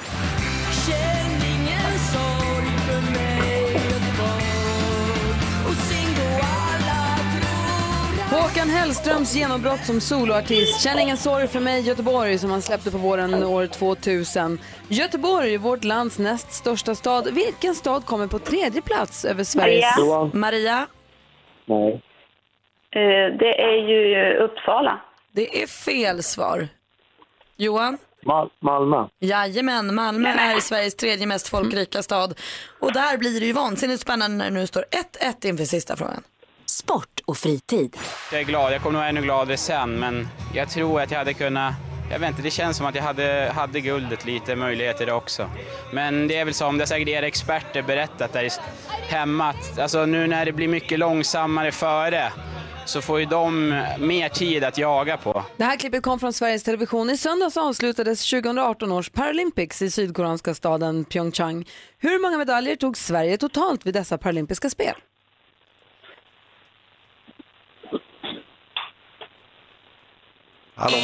Håkan Hellströms genombrott som soloartist. Känn ingen sorg för mig Göteborg som han släppte på våren år 2000. Göteborg, vårt lands näst största stad. Vilken stad kommer på tredje plats över Sveriges...
Maria. Johan.
Maria.
Nej.
Eh, det är ju Uppsala.
Det är fel svar. Johan?
Mal- Malmö.
Jajamän, Malmö är Sveriges tredje mest folkrika stad. Och där blir det ju vansinnigt spännande när det nu står 1-1 inför sista frågan.
Sport och fritid.
Jag är glad, jag kommer nog vara ännu gladare sen, men jag tror att jag hade kunnat... Jag vet inte, det känns som att jag hade, hade guldet lite möjligheter det också. Men det är väl som, det har säkert era experter berättat där i st- hemma, att alltså, nu när det blir mycket långsammare före så får ju de mer tid att jaga på.
Det här klippet kom från Sveriges Television. I söndags avslutades 2018 års Paralympics i sydkoreanska staden Pyeongchang. Hur många medaljer tog Sverige totalt vid dessa paralympiska spel?
Hallå?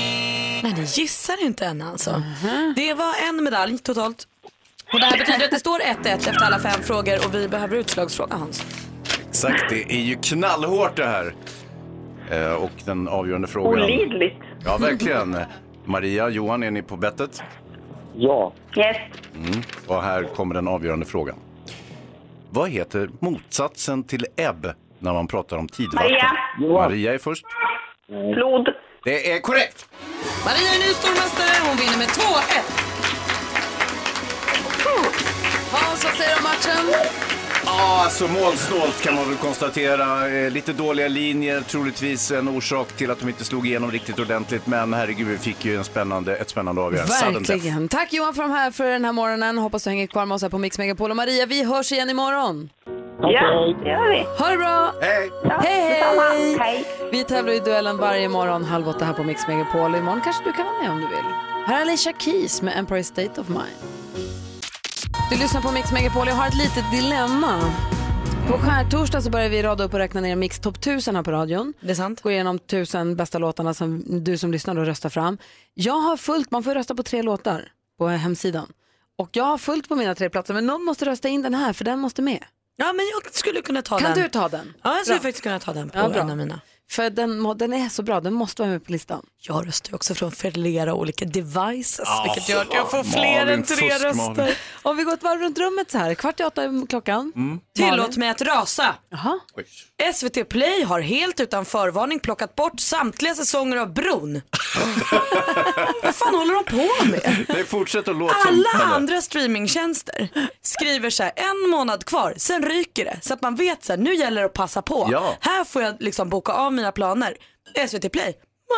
Nej, ni gissar inte än alltså.
Mhm.
Det var en medalj totalt. Och det här betyder att det står 1-1 efter alla fem frågor och vi behöver utslagsfråga Hans.
Exakt, det är ju knallhårt det här. Eh, och den avgörande frågan.
Olidligt.
Ja, verkligen. Maria, Johan, är ni på bettet? Ja.
Yes.
Mm. Och här kommer den avgörande frågan. Vad heter motsatsen till ebb när man pratar om tidvatten?
Maria.
Maria är först.
Flod.
Det är korrekt!
Maria är ny stormästare, hon vinner med 2-1. Hans, vad säger du om matchen?
Ja, alltså målsnålt kan man väl konstatera. Eh, Lite dåliga linjer, troligtvis en orsak till att de inte slog igenom riktigt ordentligt. Men herregud, vi fick ju en spännande, ett spännande avgörande. Sudden death.
Verkligen. Tack Johan för, de här, för den här morgonen. Hoppas du hänger kvar med oss här på Mix Megapol. Och Maria, vi hörs igen imorgon.
Ja, det gör vi.
Ha det bra!
Hej!
Hej, hej!
detsamma. Hej.
Vi tävlar i duellen varje morgon halv åtta här på Mix Megapol. Och Imorgon kanske du kan vara med om du vill. Här är Alicia Keys med Empire State of Mind. Du lyssnar på Mix Megapol. Jag har ett litet dilemma. På skärtorsdag så börjar vi rada upp och räkna ner Mix topp 1000 här på radion.
Det är sant.
Gå igenom 1000 bästa låtarna som du som lyssnar då röstar fram. Jag har fullt, man får rösta på tre låtar på hemsidan. Och jag har fullt på mina tre platser men någon måste rösta in den här för den måste med.
Ja, men jag skulle kunna ta
Kan
den.
du ta den?
Ja, jag skulle
Bra.
faktiskt kunna ta den på
Ja, bra.
en av mina.
För den, må- den är så bra, den måste vara med på listan.
Jag röstar ju också från flera olika devices,
Ah,
vilket gör att jag får
Malin,
fler än tre
fusk, Malin.
röster.
Om vi går ett varv runt rummet så här, kvart i åtta är klockan.
Tillåt mig att rasa.
Oj.
SVT Play har helt utan förvarning plockat bort samtliga säsonger av Bron. Vad fan håller de på med?
Det fortsätter att låta
Alla
som...
andra streamingtjänster skriver så här, en månad kvar, sen ryker det. Så att man vet så här, nu gäller det att passa på.
Ja.
Här får jag liksom boka av mina planer. SVT Play,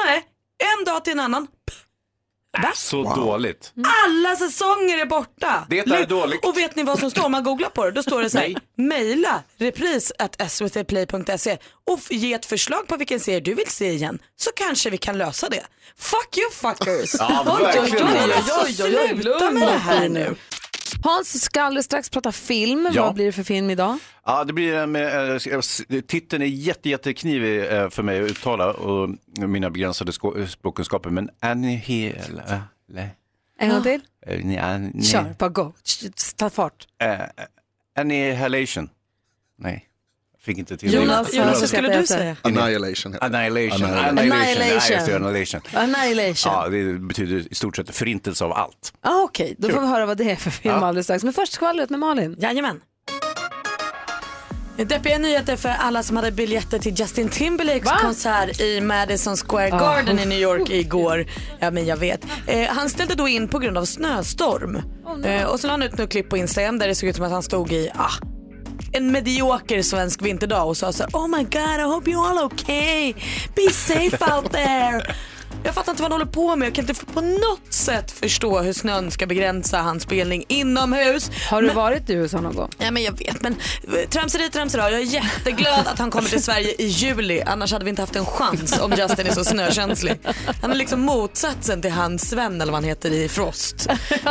nej, en dag till en annan.
Så dåligt.
Alla säsonger är borta.
Det är
Nu-
dåligt.
Och vet ni vad som står om man googlar på det? Då står det så här, mejla repris.svtplay.se och f- ge ett förslag på vilken serie du vill se igen så kanske vi kan lösa det. Fuck you fuckers!
Ja, verkligen.
oj, oj, oj, sluta med det här nu.
Hans ska alldeles strax prata film.
Ja.
Vad blir det för film idag?
Ja, det blir en, eh, s- titeln är jätte, jätteknivig eh, för mig att uttala och mina begränsade sko- eh, språkkunskaper. Men Annie Hill... eh, le-
En gång till.
eh, ni- Annie-
Kör, bara gå. Sh- Ta fart.
Eh, annihilation. Nej, jag fick inte till
Jonas,
det.
Jonas, vad skulle du säga?
Annihilation heter det. Annihilation.
Annihilation.
Annihilation. Ja, just det,
Annihilation.
annihilation.
Annihilation.
Ja, det betyder i stort sett förintelse av allt.
Ah, Okej, då
Kul.
får vi höra vad det är för film
Ja.
alldeles strax. Men först skvallret med Malin.
Jajamän. Deppiga nyheter för alla som hade biljetter till Justin Timberlakes konsert i Madison Square
Ah.
Garden i New
Oh,
York igår. Ja men jag vet. Eh, han ställde då in på grund av snöstorm.
Oh,
eh, och så la han ut något klipp på Instagram där det såg ut som att han stod i ah, en medioker svensk vinterdag och sa så här, Oh my god I hope you all okay. Be safe out there. Jag fattar inte vad han håller på med. Jag kan inte på något sätt förstå hur snön ska begränsa hans spelning inomhus.
Har du varit i USA någon gång?
Ja, men jag vet, men eh, tramseri tramseri. Jag är jätteglad att han kommer till Sverige i juli. Annars hade vi inte haft en chans om Justin är så snökänslig. Han är liksom motsatsen till han Sven eller vad han heter i Frost.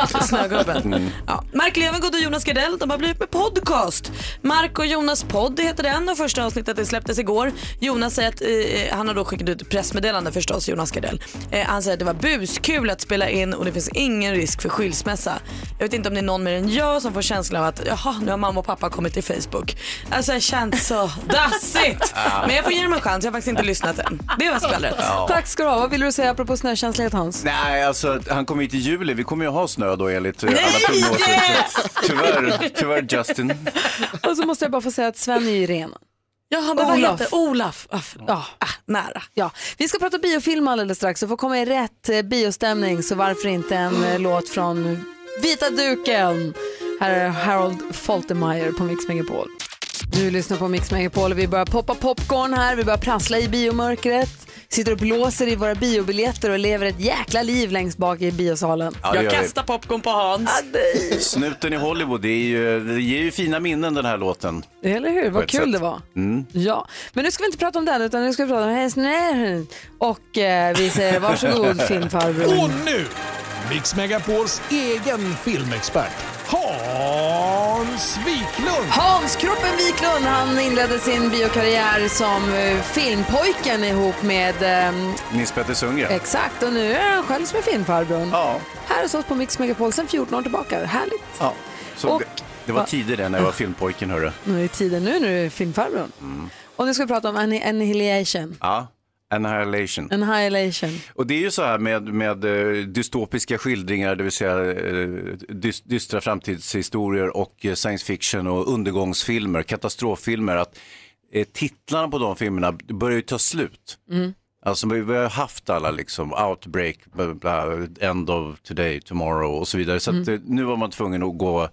Snögubben. Ja. Mark Levengood och Jonas Gardell de har blivit med podcast. Mark och Jonas podd heter den och första avsnittet det släpptes igår. Jonas säger att, eh, han har då skickat ut ett pressmeddelande förstås, Jonas Gardell. Eh, han säger att det var buskul att spela in och det finns ingen risk för skilsmässa. Jag vet inte om det är någon mer än jag som får känslan av att jaha, nu har mamma och pappa kommit till Facebook. Alltså jag känns så dassigt. Men jag får ge dem en chans, jag har faktiskt inte lyssnat än. Det var skvallret.
Ja.
Tack ska du ha. Vad vill du säga apropå snökänslighet Hans?
Nej, alltså han kommer hit i juli. Vi kommer ju ha snö då enligt eh, alla prognoser. Tyvärr, tyvärr Justin.
Och så måste jag bara få säga att Sven är ju ren.
Jaha, men vad heter Olaf? Ah, förlåt.
Ja.
nära.
Ja. Vi ska prata biofilm alldeles strax och få komma i rätt eh, biostämning så varför inte en eh, låt från Vita duken. Här är Harold Faltermeyer på Mix Megapol. Du lyssnar på Mix Megapol och vi börjar poppa popcorn här, vi börjar prassla i biomörkret, sitter och blåser i våra biobiljetter och lever ett jäkla liv längst bak i biosalen.
Ja, det gör vi.
popcorn på Hans.
Snuten i Hollywood, det, är ju, det ger ju fina minnen den här låten.
Eller hur?
På
Vad
ett
kul
sätt.
det var.
Mm.
Ja, men nu ska vi inte prata om den utan nu ska vi prata om hennes nä- Och eh, vi säger varsågod
Äh.
filmfarbror.
Och nu, Mix Megapols egen filmexpert, Hans Wiklund.
Hans Kroppen Wiklund, han inledde sin biokarriär som eh, filmpojken ihop med... ehm,
Nils Petter Sundgren.
Exakt, och nu är han själv som är filmfarbrorn.
Ja.
Här hos oss på Mix Megapol sedan 14 år tillbaka. Härligt.
Ja. Så
Och-
det, det var tider det när jag var filmpojken, hörru. Mm.
Nu är tiden nu när du är filmfarbrorn. Och nu ska vi prata om anni- Annihilation.
Ja. Annihilation.
Annihilation.
Och det är ju så här med, med eh, dystopiska skildringar, det vill säga eh, dys, dystra framtidshistorier och eh, science fiction och undergångsfilmer, katastroffilmer, att eh, titlarna på de filmerna börjar ju ta slut.
Mm.
Alltså vi vi har haft alla liksom outbreak, bla, bla, end of today, tomorrow och så vidare. Så
Mm.
att, eh, nu var man tvungen att gå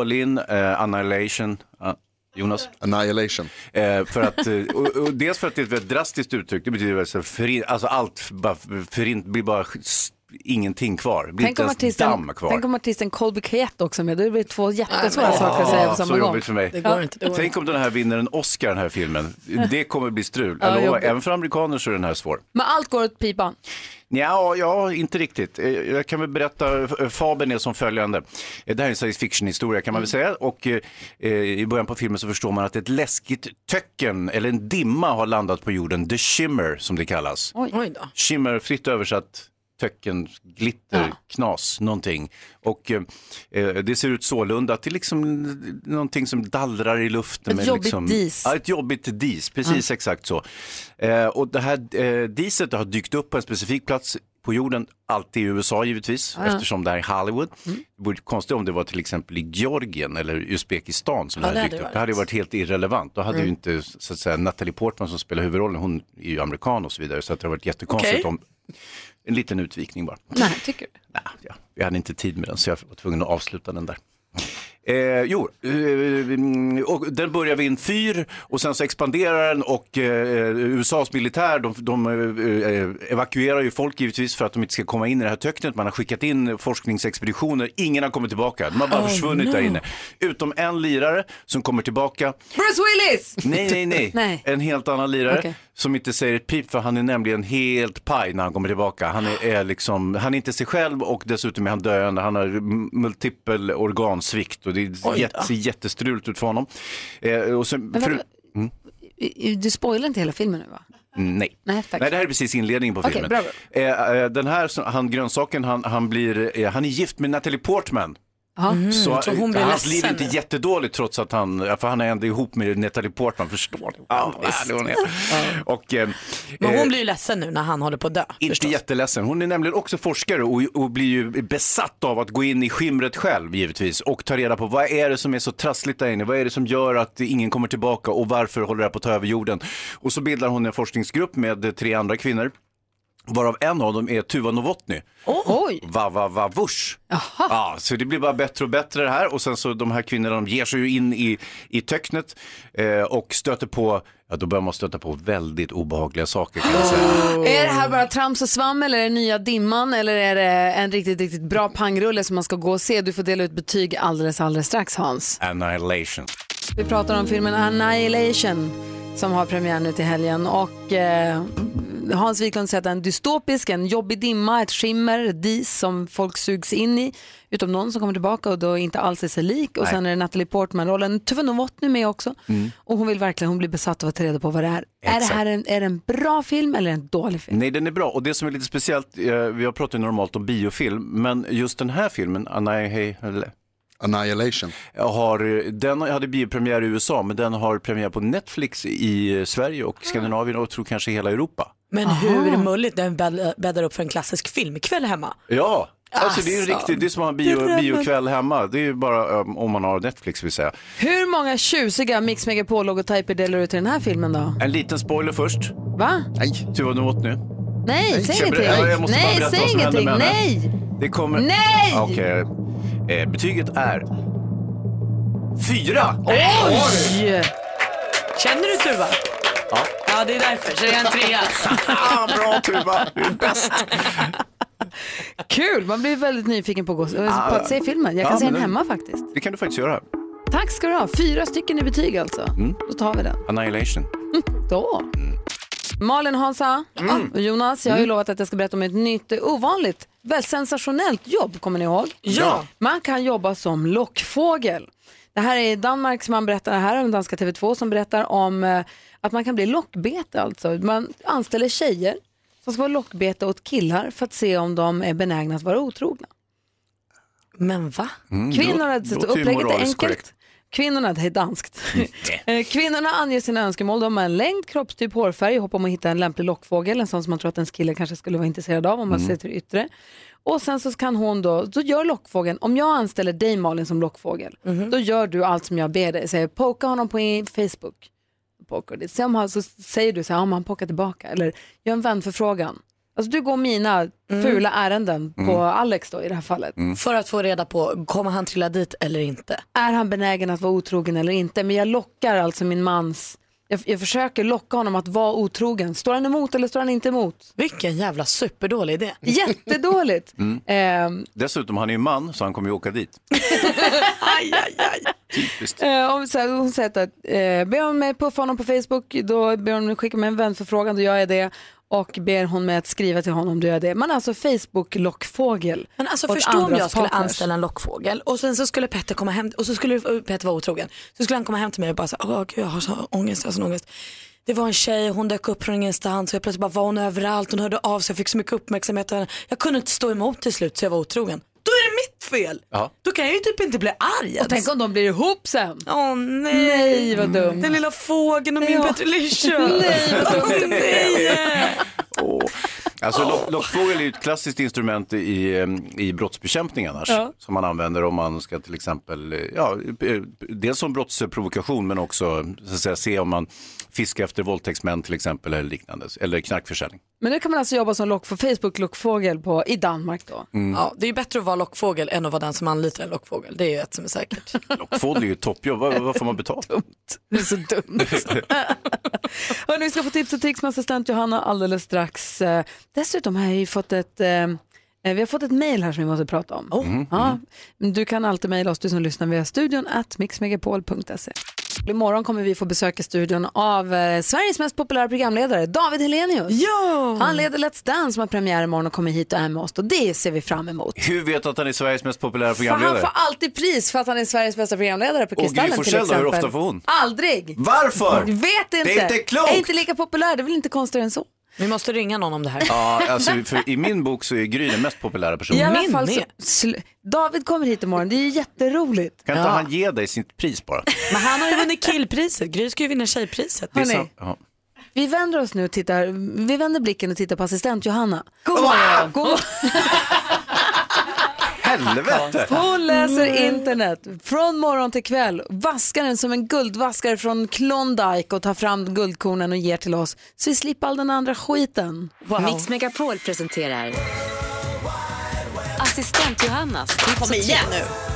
all in, eh, annihilation, Ah, Jonas?
Annihilation.
Eh, för att, eh, och, och dels för att det är ett väldigt drastiskt uttryck, det betyder väl så här förin, alltså allt bara förint, blir bara s- ingenting kvar, Det blir
Tänk
inte
om,
ens
artisten,
damm kvar.
tänk om artisten Colby Kayette också är med. Då blir det tvår jättesvåra
Ah,
saker att säga på samma
Så
gång.
jobbigt för mig.
Ja.
Tänk om den här vinner en Oscar, den här filmen. Det kommer bli strul.
Ja,
Jag lovar,
jobbigt.
även för amerikaner så är den här svår.
Men allt går åt pipan.
Ja, ja, inte riktigt. Eh, Jag kan väl berätta, eh, fabeln är som följande. Eh, Det här är en science fiction-historia kan man väl säga. Och eh, eh, i början på filmen så förstår man att ett läskigt töcken, eller en dimma, har landat på jorden. The Shimmer, som det kallas.
Oj. då.
Shimmer, fritt översatt töcken, glitter, knas, någonting. Och eh, eh, det ser ut sålunda till liksom någonting som dallrar i luften.
Ett
med
jobbigt
liksom,
dis.
Ja, ett jobbigt dis, precis exakt så. Eh, och det här eh, diset har dykt upp på en specifik plats på jorden, alltid i USA givetvis,
Ja. Mm.
eftersom det här är Hollywood. Det vore konstigt om det var till exempel i Georgien eller Uzbekistan som
Ja,
det
det
hade dykt
hade
upp.
varit.
Det hade ju varit helt irrelevant. Då hade
Mm.
ju inte så att säga, Natalie Portman som spelar huvudrollen, hon är ju amerikan och så vidare, så att det hade varit jättekonstigt
Okej.
om... En liten utvikning bara.
Nej, tycker du?
Vi hade inte tid med den så jag var tvungen att avsluta den där. Eh, jo, eh, mm, och den börjar vid en fyr och sen så expanderar den och eh, USAs militär de, de eh, eh, evakuerar ju folk givetvis för att de inte ska komma in i det här töcknet. Man har skickat in forskningsexpeditioner, ingen har kommit tillbaka, de har bara
Oh,
försvunnit där
no.
inne. Utom en lirare som kommer tillbaka
Bruce Willis!
Nej, nej, nej. En helt annan lirare
Okej.
som inte säger ett pip för han är nämligen helt paj när han kommer tillbaka. Han är, är liksom, han är inte sig själv och dessutom är han döende. Han har m- multipel organsvikt och det
Oj då.
jätte, ser jättestruligt ut för honom. Eh, och sen,
Men
fru,
vadå? I- i- Du spoilar inte hela filmen nu va?
mm, nej.
Nej, tack.
Nej, det här är precis inledningen på
Okej,
filmen.
bra,
Eh, eh, den här, som- han, grönsaken, han, han, blir, eh, han är gift med Natalie Portman.
Ja.
Mm. Så, eh,
Så Mm, hon blir
hans liv är
ledsen.
inte jättedåligt trots att han, för han är ändå ihop med Natalie Portman, förstår ni? Ja, ja, hon är. Och, eh,
Men
eh,
hon blir ju ledsen nu när han håller på att dö.
Inte jätteledsen. Hon är nämligen också forskare och, och blir ju besatt av att gå in i skimret själv givetvis och ta reda på vad är det som är så trassligt där inne? Vad är det som gör att ingen kommer tillbaka och varför håller det här på att ta över jorden? Och så bildar hon en forskningsgrupp med tre andra kvinnor varav en av dem är Tuva Novotny.
Oj!
Va, va, va, vush. Ja, så det blir bara bättre och bättre det här och sen så de här kvinnorna de ger sig ju in i, i töcknet eh, och stöter på, ja då börjar man stöta på väldigt obehagliga saker kan jag säga.
Är det här bara trams och svammel eller är det nya dimman eller är det en riktigt, riktigt bra pangrulle som man ska gå och se? Du får dela ut betyg alldeles, alldeles strax Hans.
Annihilation.
Vi pratar om filmen Annihilation som har premiär nu till helgen och eh, Hans Wiklund säger att den är dystopisk, en jobbig dimma, ett skimmer, ett dis som folk sugs in i. Utom någon som kommer tillbaka och då inte alls är sig lik och
Nej. Mm.
sen är det Natalie Portman-rollen, Tuve Novotny med också. Och hon vill verkligen, hon blir besatt av att ta reda på vad det är. Är
Exakt.
det här en, är det en bra film eller en dålig film?
Nej, den är bra. Och det som är lite speciellt, eh, vi har pratat ju normalt om biofilm, men just den här filmen, Annihil-
Annihilation.
Har, eh, den hade biopremiär i USA, men den har premiär på Netflix i eh, Sverige och Skandinavien och tror kanske hela Europa.
Men hur mulligt den bädd- bäddar upp för en klassisk filmkväll hemma.
Ja, alltså, det är ju
Alltså,
riktigt, det är som att ha en bio,
drömmen.
biokväll hemma. Det är ju bara um, om man har Netflix vill säga.
Hur många tjusiga Mix Megapol-logotyper delar du till den här filmen då?
En liten spoiler först.
Va?
Nej. Tuva nu åt nu.
Nej,
Nej,
säg
jag ber-
ingenting.
jag- jag måste bara
Nej,
berätta
säg
vad som händer
ingenting.
med henne.
Nej!
Det kommer... Ah,
Nej!
Okej. Eh, betyget är... Fyra!
Oj!
Känner du Tuva?
Ja. Ah,
Ja, det är därför. Så det är en trea.
Bra Tuva, du är bäst.
Kul, man blir väldigt nyfiken på att, gå,
Ah,
på att se filmen. Jag kan
ja,
se
men
den
den-
hemma faktiskt.
Det kan du faktiskt göra.
Tack ska du ha. Fyra stycken i betyg alltså.
Mm.
Då tar vi den.
Annihilation.
Då. Malin, Hansa
Mm.
och Jonas, jag har ju lovat att jag ska berätta om ett nytt eh, ovanligt, väl sensationellt jobb, kommer ni ihåg?
Ja.
Man kan jobba som lockfågel. Det här är i Danmark som man berättar det här, om danska TV2 som berättar om eh, att man kan bli lockbete alltså. Man anställer tjejer som ska vara lockbete åt killar för att se om de är benägna att vara otrogna.
Men va?
Mm,
Kvinnor hade sett upplägget är enkelt. Kvinnorna, det är danskt. Eh, Kvinnorna anger sina önskemål. De har en längd, kroppstyp, hårfärg, hopp om att hitta en lämplig lockfågel, en sån som man tror att ens kille kanske skulle vara intresserad av om man
Mm.
ser till det yttre. Och sen så kan hon då, då gör lockfågeln, om jag anställer dig Malin som lockfågel, då gör du allt som jag ber dig. Säger poka honom på i- Facebook. Poker. det. Se om han, så säger du så här, om han pokar tillbaka eller gör en vänförfrågan. Alltså du går mina fula ärenden på
Mm.
Alex då i det här fallet.
För att få reda på, kommer han trilla dit eller inte?
Är han benägen att vara otrogen eller inte? Men jag lockar alltså min mans, jag, jag försöker locka honom att vara otrogen. Står han emot eller står han inte emot?
Vilken jävla superdålig idé. Eh,
Jättedåligt.
Mm.
Ehm,
Dessutom, han är ju man, så han kommer ju åka dit.
Eh, om, så här, hon säger att eh, ber hon mig puffa honom på Facebook, då ber hon mig skicka mig en vänförfrågan, då gör jag det. Och ber hon mig att skriva till honom, då gör jag det. Man är alltså Facebook-lockfågel.
Men alltså
åt
förstå om
andras
jag skulle
partners.
anställa en lockfågel och sen så skulle Petter komma hem och så skulle eh, Petter vara otrogen. Så skulle han komma hem till mig och bara så här, åh gud jag har så ångest, jag har sån ångest. Det var en tjej, hon dök upp från ingenstans och jag plötsligt bara var hon överallt, hon hörde av sig, jag fick så mycket uppmärksamhet. av henne. Jag kunde inte stå emot till slut så jag var otrogen. Då är det mitt fel!
Ja.
Då kan jag ju typ inte bli arg ens.
Och tänk om de blir ihop sen.
Åh nej. Mm.
Nej, vad dumt.
Den lilla fågeln och min ja. Petrulicia.
nej, vad dumt.
Åh, nej.
Alltså, lock, lockfågel är ju ett klassiskt instrument i, eh, i brottsbekämpning annars.
Ja.
Som man använder om man ska till exempel, eh, ja, eh, dels som brottsprovokation men också så att säga, se om man fiskar efter våldtäktsmän till exempel eller liknande. Eller knarkförsäljning.
Men nu kan man alltså jobba som lock för Facebook-lockfågel på, i Danmark då.
Mm.
Ja, det är ju bättre att vara lockfågel än att vara den som anlitar en lockfågel. Det är ju ett som är säkert.
Lockfågel är ju ett toppjobb, vad, vad får man betalt?
Det är så dumt. Hörrni, vi ska få tips och tricks med assistent Johanna alldeles strax. Eh, Dessutom har jag ju fått ett, eh, eh, vi har fått ett mejl här som vi måste prata om.
Mm.
Ja, du kan alltid mejla oss, du som lyssnar, via studion at
E.
mixmegapol.se. Imorgon kommer vi få besöka studion av eh, Sveriges mest populära programledare, David Helenius.
Ja!
Han leder Let's Dance som har premiär imorgon och kommer hit och är med oss. Och det ser vi fram emot.
Hur vet att han är Sveriges mest populära
För han
programledare?
får alltid pris för att han är Sveriges bästa programledare på
Och Gry
Kristallen till
Forssell
exempel.
då, hur ofta får hon?
Aldrig!
Varför?
Vet inte.
Det är inte klokt.
Är inte lika populär, det är väl inte konstigare än så.
Vi måste ringa någon om det här.
Ja, alltså, för i min bok så är Gry den mest populära personen.
I alla fall så, sl- David kommer hit imorgon, det är ju jätteroligt.
Kan inte han ge dig sitt pris bara?
Men han har ju vunnit killpriset. Gry ska ju vinna tjejpriset.
Det är
Hörni.
så- ja.
Vi vänder oss nu och tittar, vi vänder blicken och tittar på assistent Johanna.
Oh, God
morgon.
God-
Helvete!
Hon läser internet från morgon till kväll, vaskar den som en guldvaskare från Klondike och tar fram guldkornen och ger till oss så vi slipper all den andra skiten.
Mix Megapol presenterar Assistent Johannas tips
Kom
och
igen
tricks.
nu.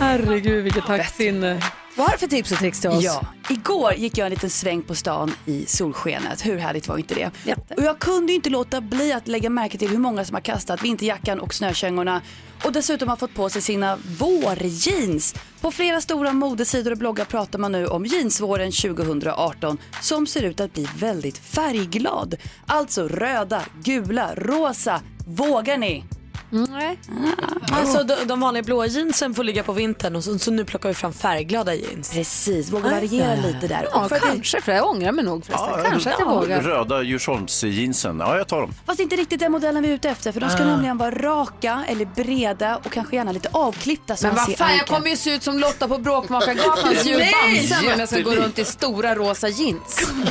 Herregud vilket taktsinne. Vad har du för tips och tricks till oss?
Ja. Igår gick jag en liten sväng på stan i solskenet. Hur härligt var inte det? Och jag kunde ju inte låta bli att lägga märke till hur många som har kastat vinterjackan och snökängorna och dessutom har fått på sig sina vårjeans. På flera stora modesidor och bloggar pratar man nu om jeansvåren 2018 som ser ut att bli väldigt färgglad. Alltså röda, gula, rosa. Vågar ni?
Mm, Nej.
Alltså de, de vanliga blåa jeansen får ligga på vintern och så, så nu plockar vi fram färgglada jeans. Ah,
Precis, våga
variera lite där. Ja, kanske, för jag ångrar mig nog förresten. kanske att jag vågar.
Röda Djursholmsjeansen, ja jag tar dem.
Fast inte riktigt den modellen vi är ute efter för de ska
Ah.
nämligen vara raka eller breda och kanske gärna lite avklippta så
Alltså,
Men
man
vad
ser
fan, jag
ankan.
kommer ju se ut som Lotta på Bråkmakargatans julbamsen om jag ska gå runt i stora rosa jeans.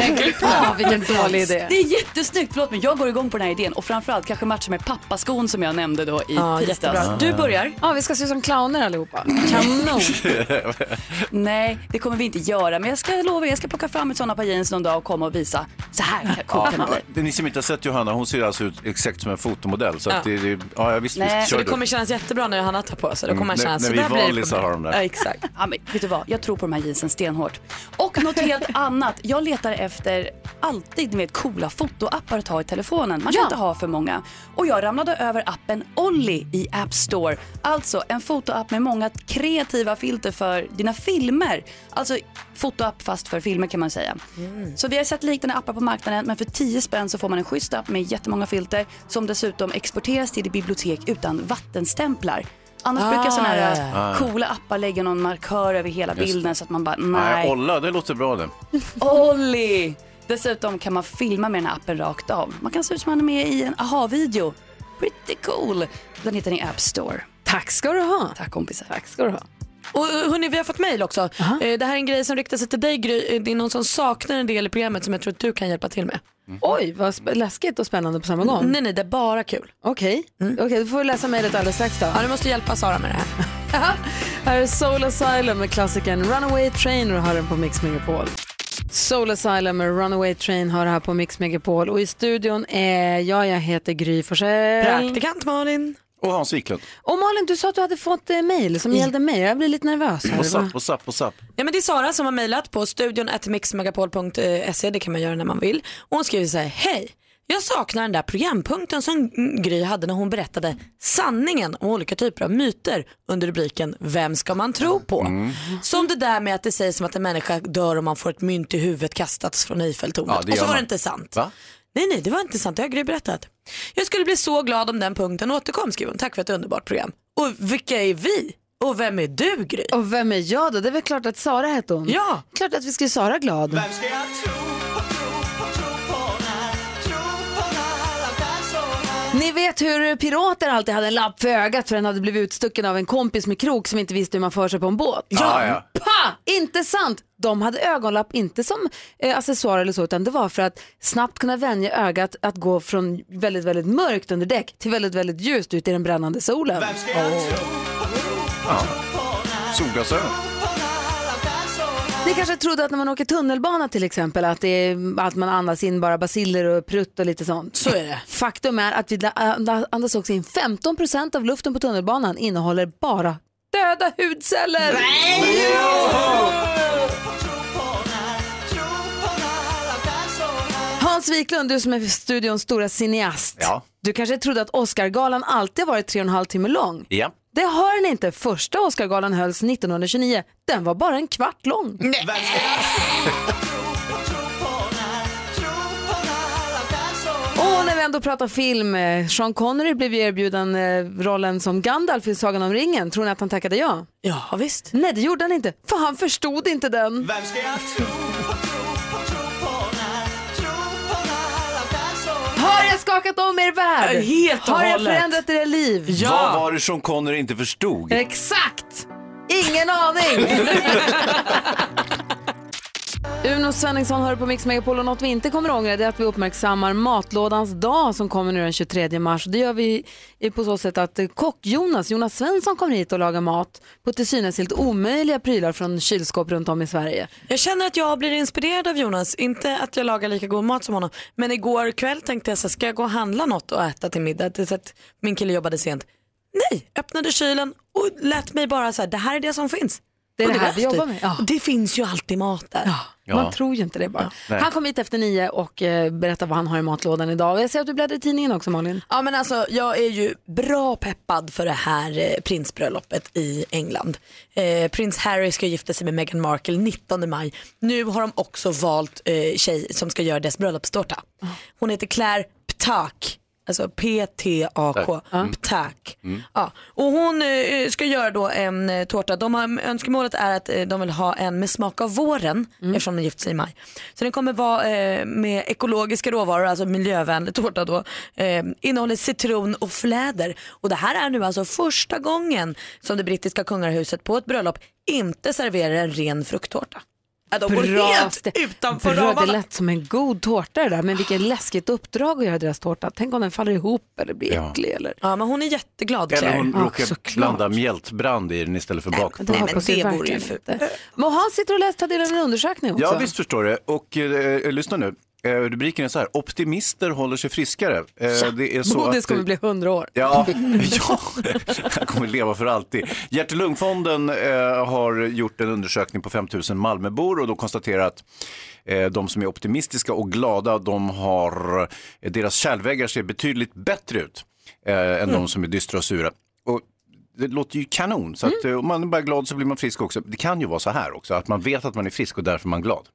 Lägg av, vilken dålig idé.
Det är jättesnyggt, förlåt men jag går igång på den här idén och framförallt kanske matcha med pappaskon som jag nämnde då i
Ja,
tisdags.
Ah, jättebra.
Du börjar.
Ja, vi ska se ut som clowner allihopa. Kanon.
Nej, det kommer vi inte göra men jag ska lova er, jag ska plocka fram ett sådana par jeans någon dag och komma och visa. Så här cool kan man bli.
Ja, ni som inte har sett Johanna, hon ser alltså ut exakt som en fotomodell. Så att
Ja.
det, det, ja, visst, visst,
så
kör
det
du.
kommer kännas jättebra när Johanna tar på sig. Då
Mm,
kommer man
när-
känna
när
så
vi
där blir det
vanlisar
på mig."
har de där.
Ja, exakt.
Ja, men, vet du vad? Jag tror på de här jeansen stenhårt. Och något helt annat. Jag letar efter alltid med coola fotoappar att ha i telefonen. Man kan inte ha för många. Och jag ramlade över appen Olli i App Store. Alltså en fotoapp med många kreativa filter för dina filmer. Alltså fotoapp fast för filmer kan man säga.
Mm.
Så vi har sett liknande appar på marknaden men för 10 spänn så får man en schysst app med jättemånga filter som dessutom exporteras till bibliotek utan vattenstämplar. Annars
Ah,
brukar sådana här
ja, Ah, ja.
eh, coola appar lägga någon markör över hela
Just
bilden
det.
så att man bara
Nej,
nej.
Olla, det låter bra det.
Olli! Dessutom kan man filma med den här appen rakt av. Man kan se ut som man är med i en aha-video
pretty cool. Den hittar ni i App Store.
Tack ska du ha.
Tack kompisar.
Tack ska du ha.
Och eh, hörni, vi har fått mejl också. Eh, Det här är en grej som riktar sig till dig Gry. Eh, Det är någon som saknar en del i programmet som jag tror att du kan hjälpa till med.
Oj, vad sp- läskigt och spännande på samma gång.
Nej, nej, det är bara kul. Mm.
Okej, Okej, då får vi läsa mejlet alldeles strax då.
Ja, du måste hjälpa Sara med det här.
Här är Soul Asylum med klassikern Runaway Train och du hör den på Mix Megapol. Soul Asylum med Runaway Train har det här på Mix Megapol och i studion är jag, jag heter Gry Forssell.
Praktikant Malin.
Och Hans Wiklund.
Och Malin, du sa att du hade fått eh, mejl som gällde mig. Jag blir lite nervös här.
What's up, what's up, what's up?
Ja, men det är Sara som har mejlat på studion mixmegapol.se, det kan man göra när man vill. Och hon skriver så här, hej, jag saknar den där programpunkten som Gry hade när hon berättade sanningen om olika typer av myter under rubriken Vem ska man tro på?
Mm.
Som det där med att det sägs som att en människa dör om man får ett mynt i huvudet kastats från Eiffeltornet.
Ja, det
och så
gör
var det
man.
inte sant. Nej, nej, det var inte sant. Det har Gry berättat. Jag skulle bli så glad om den punkten återkom, skriver hon. Tack för ett underbart program. Och vilka är vi? Och vem är du, Gry?
Och vem är jag då? Det är väl klart att Sara hette hon.
Ja!
Klart att vi ska göra Sara glad.
Vem ska jag tro på, tro på, tro på när? Tro på när alla dagar
Ni vet hur pirater alltid hade en lapp för ögat för den hade blivit utstucken av en kompis med krok som inte visste hur man för sig på en båt.
Ja, ja.
Pa! Inte sant! De hade ögonlapp, inte som eh, accessoar eller så, utan det var för att snabbt kunna vänja ögat att gå från väldigt, väldigt mörkt under däck till väldigt, väldigt ljust ute i den brännande solen.
Ja. Solglasögon.
Ni kanske trodde att när man åker tunnelbana till exempel att, det är, att man andas in bara basiller och prutt och lite sånt.
Så är det.
Faktum är att vi andas- andas också in 15% av luften på tunnelbanan innehåller bara döda hudceller. Hans Wiklund, du som är studions stora cineast.
Ja.
Du kanske trodde att Oscargalan alltid varit tre och en halv timme lång.
Ja.
Det har den inte. Första Oscargalan hölls 1929. Den var bara en kvart lång. Och när vi ändå pratar film, eh, Sean Connery blev ju erbjuden eh, rollen som Gandalf i Sagan om ringen. Tror ni att han tackade ja?
Ja, visst.
Nej, det gjorde han inte, för han förstod inte den.
Vem ska jag tro på, tro på, tro på när? Tro på när alla dagar
Har jag skakat om er värld?
Ja, helt och
Har jag
hållet.
förändrat era liv?
Vad var det som Connery inte förstod?
Exakt! Ingen aning! Uno Svenningsson hör på Mix Megapol och något vi inte kommer att ångra det är att vi uppmärksammar matlådans dag som kommer nu den 23 mars. Det gör vi på så sätt att kock-Jonas, Jonas Svensson kommer hit och lagar mat på till synes helt omöjliga prylar från kylskåp runt om i Sverige.
Jag känner att jag blir inspirerad av Jonas, inte att jag lagar lika god mat som honom. Men igår kväll tänkte jag så här, ska jag gå och handla något och äta till middag? Det är så att min kille jobbade sent. Nej, öppnade kylen och lät mig bara så här, det här är det som finns.
Det är
Och
det här
var
vi
efter.
jobbar med, ja.
Och det finns ju alltid mat där.
Ja. Man tror ju inte det bara.
Nej.
Han kommer hit efter nio och eh, berättar vad han har i matlådan idag. Jag ser att du bläddrar i tidningen också Malin.
Ja men alltså jag är ju bra peppad för det här eh, prinsbröllopet i England. Eh, prins Harry ska gifta sig med Meghan Markle 19 maj. Nu har de också valt eh, tjej som ska göra deras bröllopstårta. Hon heter Claire Ptak. Alltså P-T-A-K.
Tack. Mm.
Ptak. Ja. Och hon eh, ska göra då en eh, tårta. De har, önskemålet är att eh, de vill ha en med smak av våren eftersom de gift sig i maj. Så den kommer vara eh, med ekologiska råvaror, alltså miljövänlig tårta då. Eh, innehåller citron och fläder. Och det här är nu alltså första gången som det brittiska kungahuset på ett bröllop inte serverar en ren frukttårta. Ja, de går helt
ste-
utanför
Bra, Det
ramarna. Ah.
lät som en god tårta det där, men vilket läskigt uppdrag att göra deras tårta. Tänk om den faller ihop eller blir
Ja.
äcklig. Eller?
Ja, men hon är jätteglad
Eller hon
Ja,
råkar
såklart.
blanda mjältbrand i den istället för bakpulver.
Det hoppas vi verkligen inte. Men han sitter och läser, tar del av en undersökning också.
Ja, visst förstår du. Och eh, eh, lyssna nu. Eh, rubriken är så här, optimister håller sig friskare. Eh, det är så
Bodis
att,
kommer bli hundra år.
Ja, ja, han kommer leva för alltid. Hjärt och lungfonden eh, har gjort en undersökning på 5 000 Malmöbor och då konstaterar att eh, de som är optimistiska och glada, de har, eh, deras kärlväggar ser betydligt bättre ut eh, än de som är dystra och sura. Och det låter ju kanon, så att, eh, om man är bara glad så blir man frisk också. Det kan ju vara så här också, att man vet att man är frisk och därför är man glad.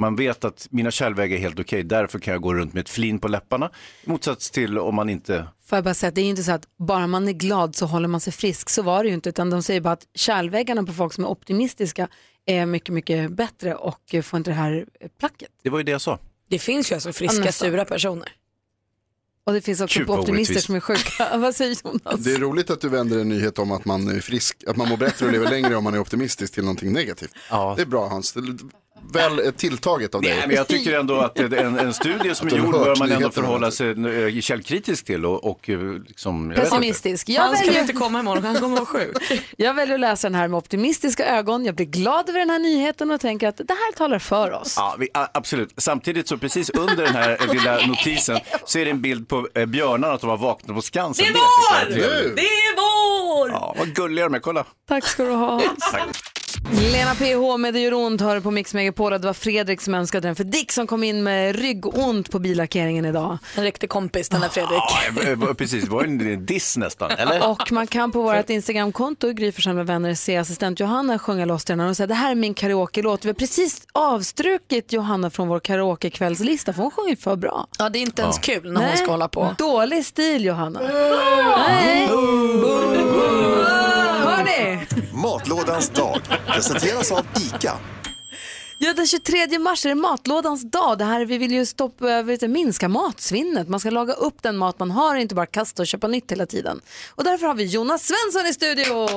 Man vet att mina kärlväggar är helt okej, därför kan jag gå runt med ett flin på läpparna. I motsats till om man inte
Får jag bara säga att det är ju inte så att bara man är glad så håller man sig frisk. Så var det ju inte, utan de säger bara att kärlväggarna på folk som är optimistiska är mycket, mycket bättre och eh, får inte det här eh, placket.
Det var ju det jag sa.
Det finns ju alltså
Ja,
friska
nästan.
sura personer.
Och det finns också
Gud, vad
optimister
orättvist.
som är sjuka. Vad säger Jonas?
Det är roligt att du vänder en nyhet om att man är frisk, att man mår bättre och lever längre om man är optimistisk till någonting negativt. Det är bra Hans, Det är väl eh, tilltaget av dig.
Nej, men jag tycker ändå att det- en, en studie som är
Att de
gjord
hört
bör man ändå
nyheterna.
förhålla sig eh, källkritisk till och, och eh, liksom, jag vet inte.
Pessimistisk.
Han skulle inte
komma imorgon, han kommer vara sjuk. jag väljer att läsa den här med optimistiska ögon. Jag blir glad över den här nyheten och tänker att det här talar för oss.
Ja, vi, a- absolut. Samtidigt så precis under den här eh, lilla notisen så är det en bild på eh, björnarna att de har vaknat på Skansen.
Det är
tycker jag
vår!
trevligt.
Det är vår!
Ja, vad gulliga de är, kolla.
Tack ska du ha.
Tack.
Lena PH med Det gör ont hör på Mix Megapol och det var Fredrik som önskade den för Dick som kom in med ryggont på billackeringen idag. Ah,
En riktig kompis den där Fredrik.
Ja, eh, eh, precis. Det var en diss nästan, eller?
Och man kan på vårt Instagramkonto, Gry Forssell med vänner, se assistent Johanna sjunga loss den här och säga det här är min karaoke-låt. Vi har precis avstrukit Johanna från vår karaokekvällslista för hon sjunger för bra.
Ja, det är inte ens
Ja.
kul när hon
Nej,
ska hålla på.
Dålig stil Johanna. Nej. Hörni!
Matlådans dag presenteras av ICA.
Ja, den 23 mars är det matlådans dag. Det här, vi vill ju stoppa, vet du, minska matsvinnet. Man ska laga upp den mat man har och inte bara kasta och köpa nytt hela tiden. Och därför har vi Jonas Svensson i studion!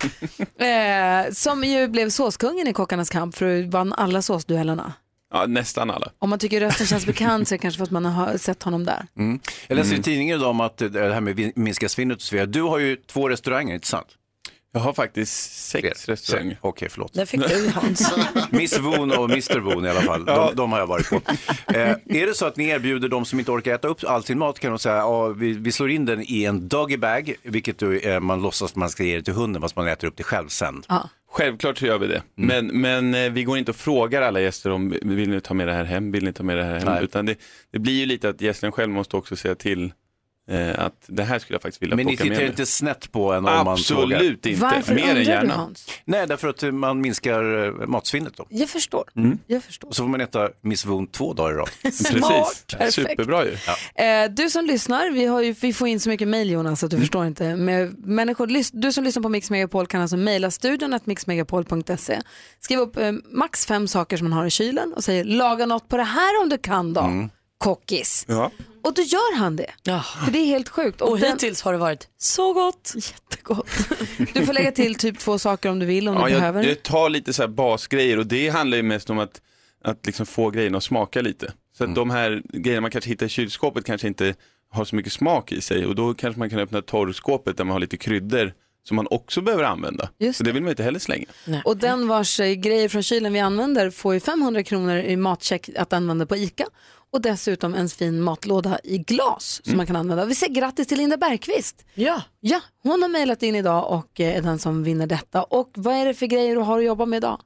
Eh, som ju blev såskungen i Kockarnas kamp för att vann alla såsduellerna.
Ja, nästan alla.
Om man tycker rösten känns bekant så är det kanske för att man har sett honom där.
Mm. Jag läser i tidningen idag om att eh, det här med vin- minska svinnet och så vidare. Du har ju två restauranger, inte sant?
Jag har faktiskt sex restauranger.
Okej, förlåt.
Det fick du Hans.
Miss Woon och Mr Woon i alla fall, de, de har jag varit på. Eh, är det så att ni erbjuder de som inte orkar äta upp all sin mat kan de säga, ja, vi, vi slår in den i en doggy bag, vilket då, eh, man låtsas att man ska ge det till hunden fast man äter upp det själv sen.
Självklart så gör vi det,
Mm.
men, men eh, vi går inte och frågar alla gäster om vill ni ta med det här hem, vill ni ta med det här hem,
Nej.
utan det, det blir ju lite att gästen själv måste också säga till eh, att det här skulle jag faktiskt vilja
Men ni
plocka med
tittar
mig.
inte snett på en om man frågar?
Absolut inte, mer än gärna.
Nej, därför att eh, man minskar eh, matsvinnet då.
Jag förstår.
Mm.
Jag förstår.
Och så får man äta Miss Woon två dagar i rad.
Smart. Perfekt. Superbra
ju.
Eh, du som lyssnar, vi, har ju, vi får in så mycket mejl Jonas att
Mm.
du förstår inte. Med människor, lys- du som lyssnar på Mix Megapol kan alltså mejla studion att mixmegapol.se. Skriv upp eh, max fem saker som man har i kylen och säger laga något på det här om du kan då.
Mm.
Kockis.
Ja.
Och då gör han det. För det är helt sjukt.
Och hittills har det varit
så gott. Jättegott. Du får lägga till typ två saker om du vill, om
Ja,
du behöver.
jag, jag tar lite så här basgrejer och det handlar ju mest om att, att liksom få grejerna att smaka lite. Så att de här grejerna man kanske hittar i kylskåpet kanske inte har så mycket smak i sig och då kanske man kan öppna torrskåpet där man har lite kryddor som man också behöver använda.
Just
så det vill man ju inte heller slänga.
Och den vars eh, grejer från kylen vi använder får ju 500 kronor i matcheck att använda på ICA och dessutom en fin matlåda i glas som man kan använda. Vi säger grattis till Linda Bergqvist.
Mm. Ja.
ja, hon har mejlat in idag och eh, är den som vinner detta. Och vad är det för grejer du har att jobba med idag?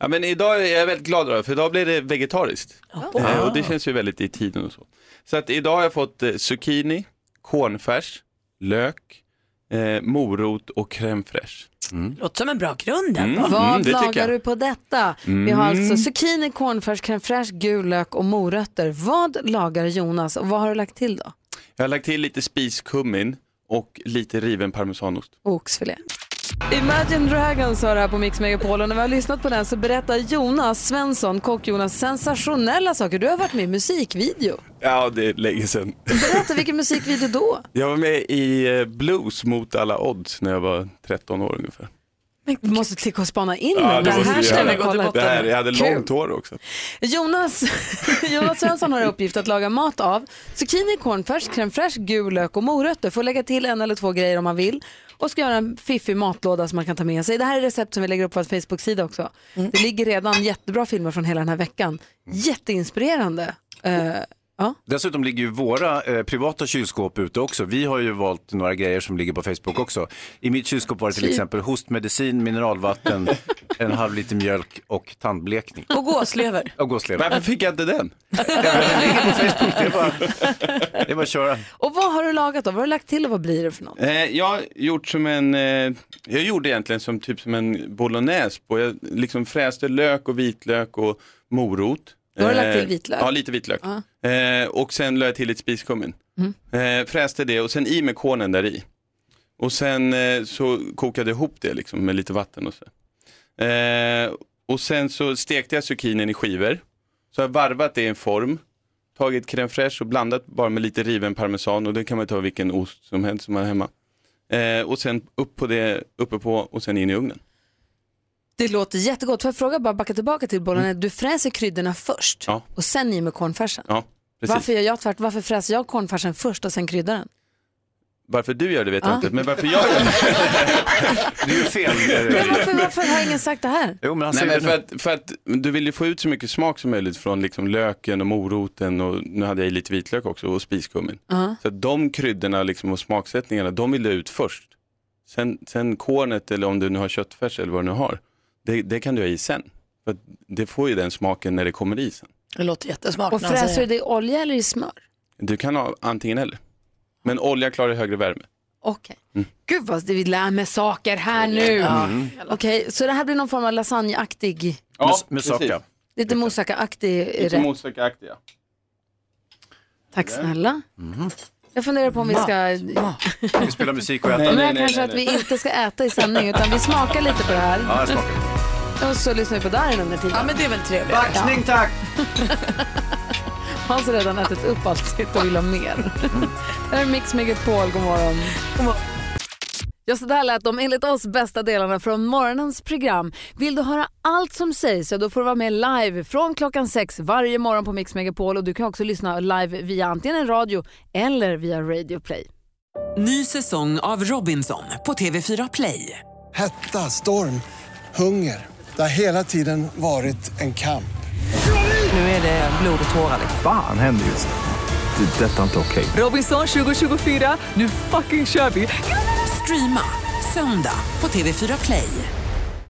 Ja, men idag är jag väldigt glad över för idag blir det vegetariskt. Eh, och det känns ju väldigt i tiden och så. Så att idag har jag fått eh, zucchini, cornfärs, lök, eh, morot och crème fraîche.
Låter som en bra grund
Mm,
ändå.
vad
det tycker
lagar
jag.
du på detta? Vi
Mm.
har alltså zucchini, cornfärs, crème fraîche, gul lök och morötter. Vad lagar Jonas och vad har du lagt till då?
Jag har lagt till lite spiskummin och lite riven parmesanost.
Oxfilé. Imagine Dragons hör här på Mix Megapol och när vi har lyssnat på den så berättar Jonas Svensson, kock-Jonas, sensationella saker. Du har varit med i musikvideo.
Ja, det är länge sedan.
Berätta vilken musikvideo då?
Jag var med i eh, Blues mot alla odds när jag var 13 år ungefär.
Vi måste klicka och spana in
Ja,
Mm, den. Det
måste
här
vi
ska
göra.
vi kolla upp.
Det här, jag hade
Kul.
långt hår också.
Jonas, Jonas Svensson har i uppgift att laga mat av zucchini, cornfärs, crème fraîche, gul lök och morötter. Får lägga till en eller två grejer om man vill och ska göra en fiffig matlåda som man kan ta med sig. Det här är recept som vi lägger upp på vår Facebook-sida också. Det ligger redan jättebra filmer från hela den här veckan. Jätteinspirerande. Eh, ja.
Dessutom ligger ju våra eh, privata kylskåp ute också. Vi har ju valt några grejer som ligger på Facebook också. I mitt kylskåp var det till
Typ.
exempel hostmedicin, mineralvatten, en halv liter mjölk och tandblekning.
Och gåslever.
Och gåslever.
Varför fick jag inte den?
Det var att köra.
Och vad har du lagat då? Vad har du lagt till och vad blir det för något?
Eh, jag har gjort som en, eh, jag gjorde egentligen som typ som en bolognese på, jag liksom fräste lök och vitlök och morot.
Då har du lagt till
Eh,
vitlök?
Ja, lite vitlök. Eh, och sen la jag till lite spiskummin.
Mm.
Eh, fräste det och sen i med kornen där i. Och sen eh, så kokade jag ihop det liksom med lite vatten och så. Eh, och sen så stekte jag zucchinin i skivor. Så har jag varvat det i en form, tagit crème fraîche och blandat bara med lite riven parmesan och det kan man ta vilken ost som helst som man har hemma. Eh, och sen upp på det, uppe på och sen in i ugnen.
Det låter jättegott. Får jag fråga, bara backa tillbaka till bollen. Du fräser kryddorna först
Ja,
och sen i med cornfärsen.
ja precis.
Varför gör jag tvärt? Varför fräser jag cornfärsen först och sen kryddar den?
Varför du gör det vet
Ja.
jag inte, men varför jag gör det? det är ju fel. Alltså,
Men varför, varför har ingen sagt det här?
Jo, men han
Nej,
säger
men för, att, för att du vill ju få ut så mycket smak som möjligt från liksom löken och moroten och nu hade jag i lite vitlök också och spiskummin.
Ja.
Så att de kryddorna liksom och smaksättningarna, de vill du ut först. Sen, sen kornet eller om du nu har köttfärs eller vad du nu har, det, det kan du ha i sen. För att det får ju den smaken när det kommer i sen.
Det låter jättesmart.
Och
när han
fräser du
säger.
det i olja eller i smör?
Du kan ha antingen eller. Men olja klarar högre värme.
Okej.
Mm.
Gud vad vi lär mig saker här nu.
Ja.
Mm. Okej, så det här blir någon form av lasagneaktig,
Ja,
Moussaka.
lite moussakaaktig
Lite
rätt.
moussakaaktiga.
Tack snälla.
Mm.
Mhm.
Jag funderar på om vi ska...
Vi spelar musik och äter.
Men jag kanske att vi inte ska äta i sändning utan vi smakar lite på det här.
Ja, jag smakar.
Och så lyssnar vi på Darin under tiden. Ja, men det är väl trevligt.
Backning, tack!
Hans har redan ätit upp allt sitt och vill ha mer. Det här är Mix Megapol, god morgon. God morgon. Ja, så där lät de enligt oss bästa delarna från morgonens program. Vill du höra allt som sägs så då får du vara med live från klockan sex varje morgon på Mix Megapol och du kan också lyssna live via antingen en radio eller via Radio Play.
Ny säsong av Robinson på TV4 Play.
Hetta, storm, hunger. Det har hela tiden varit en kamp.
Nu är det blod och tårar. liksom.
Fan händer just nu. Det. är Detta är inte okej.
Robinson 2024, nu fucking kör vi! Streama söndag på TV4 Play.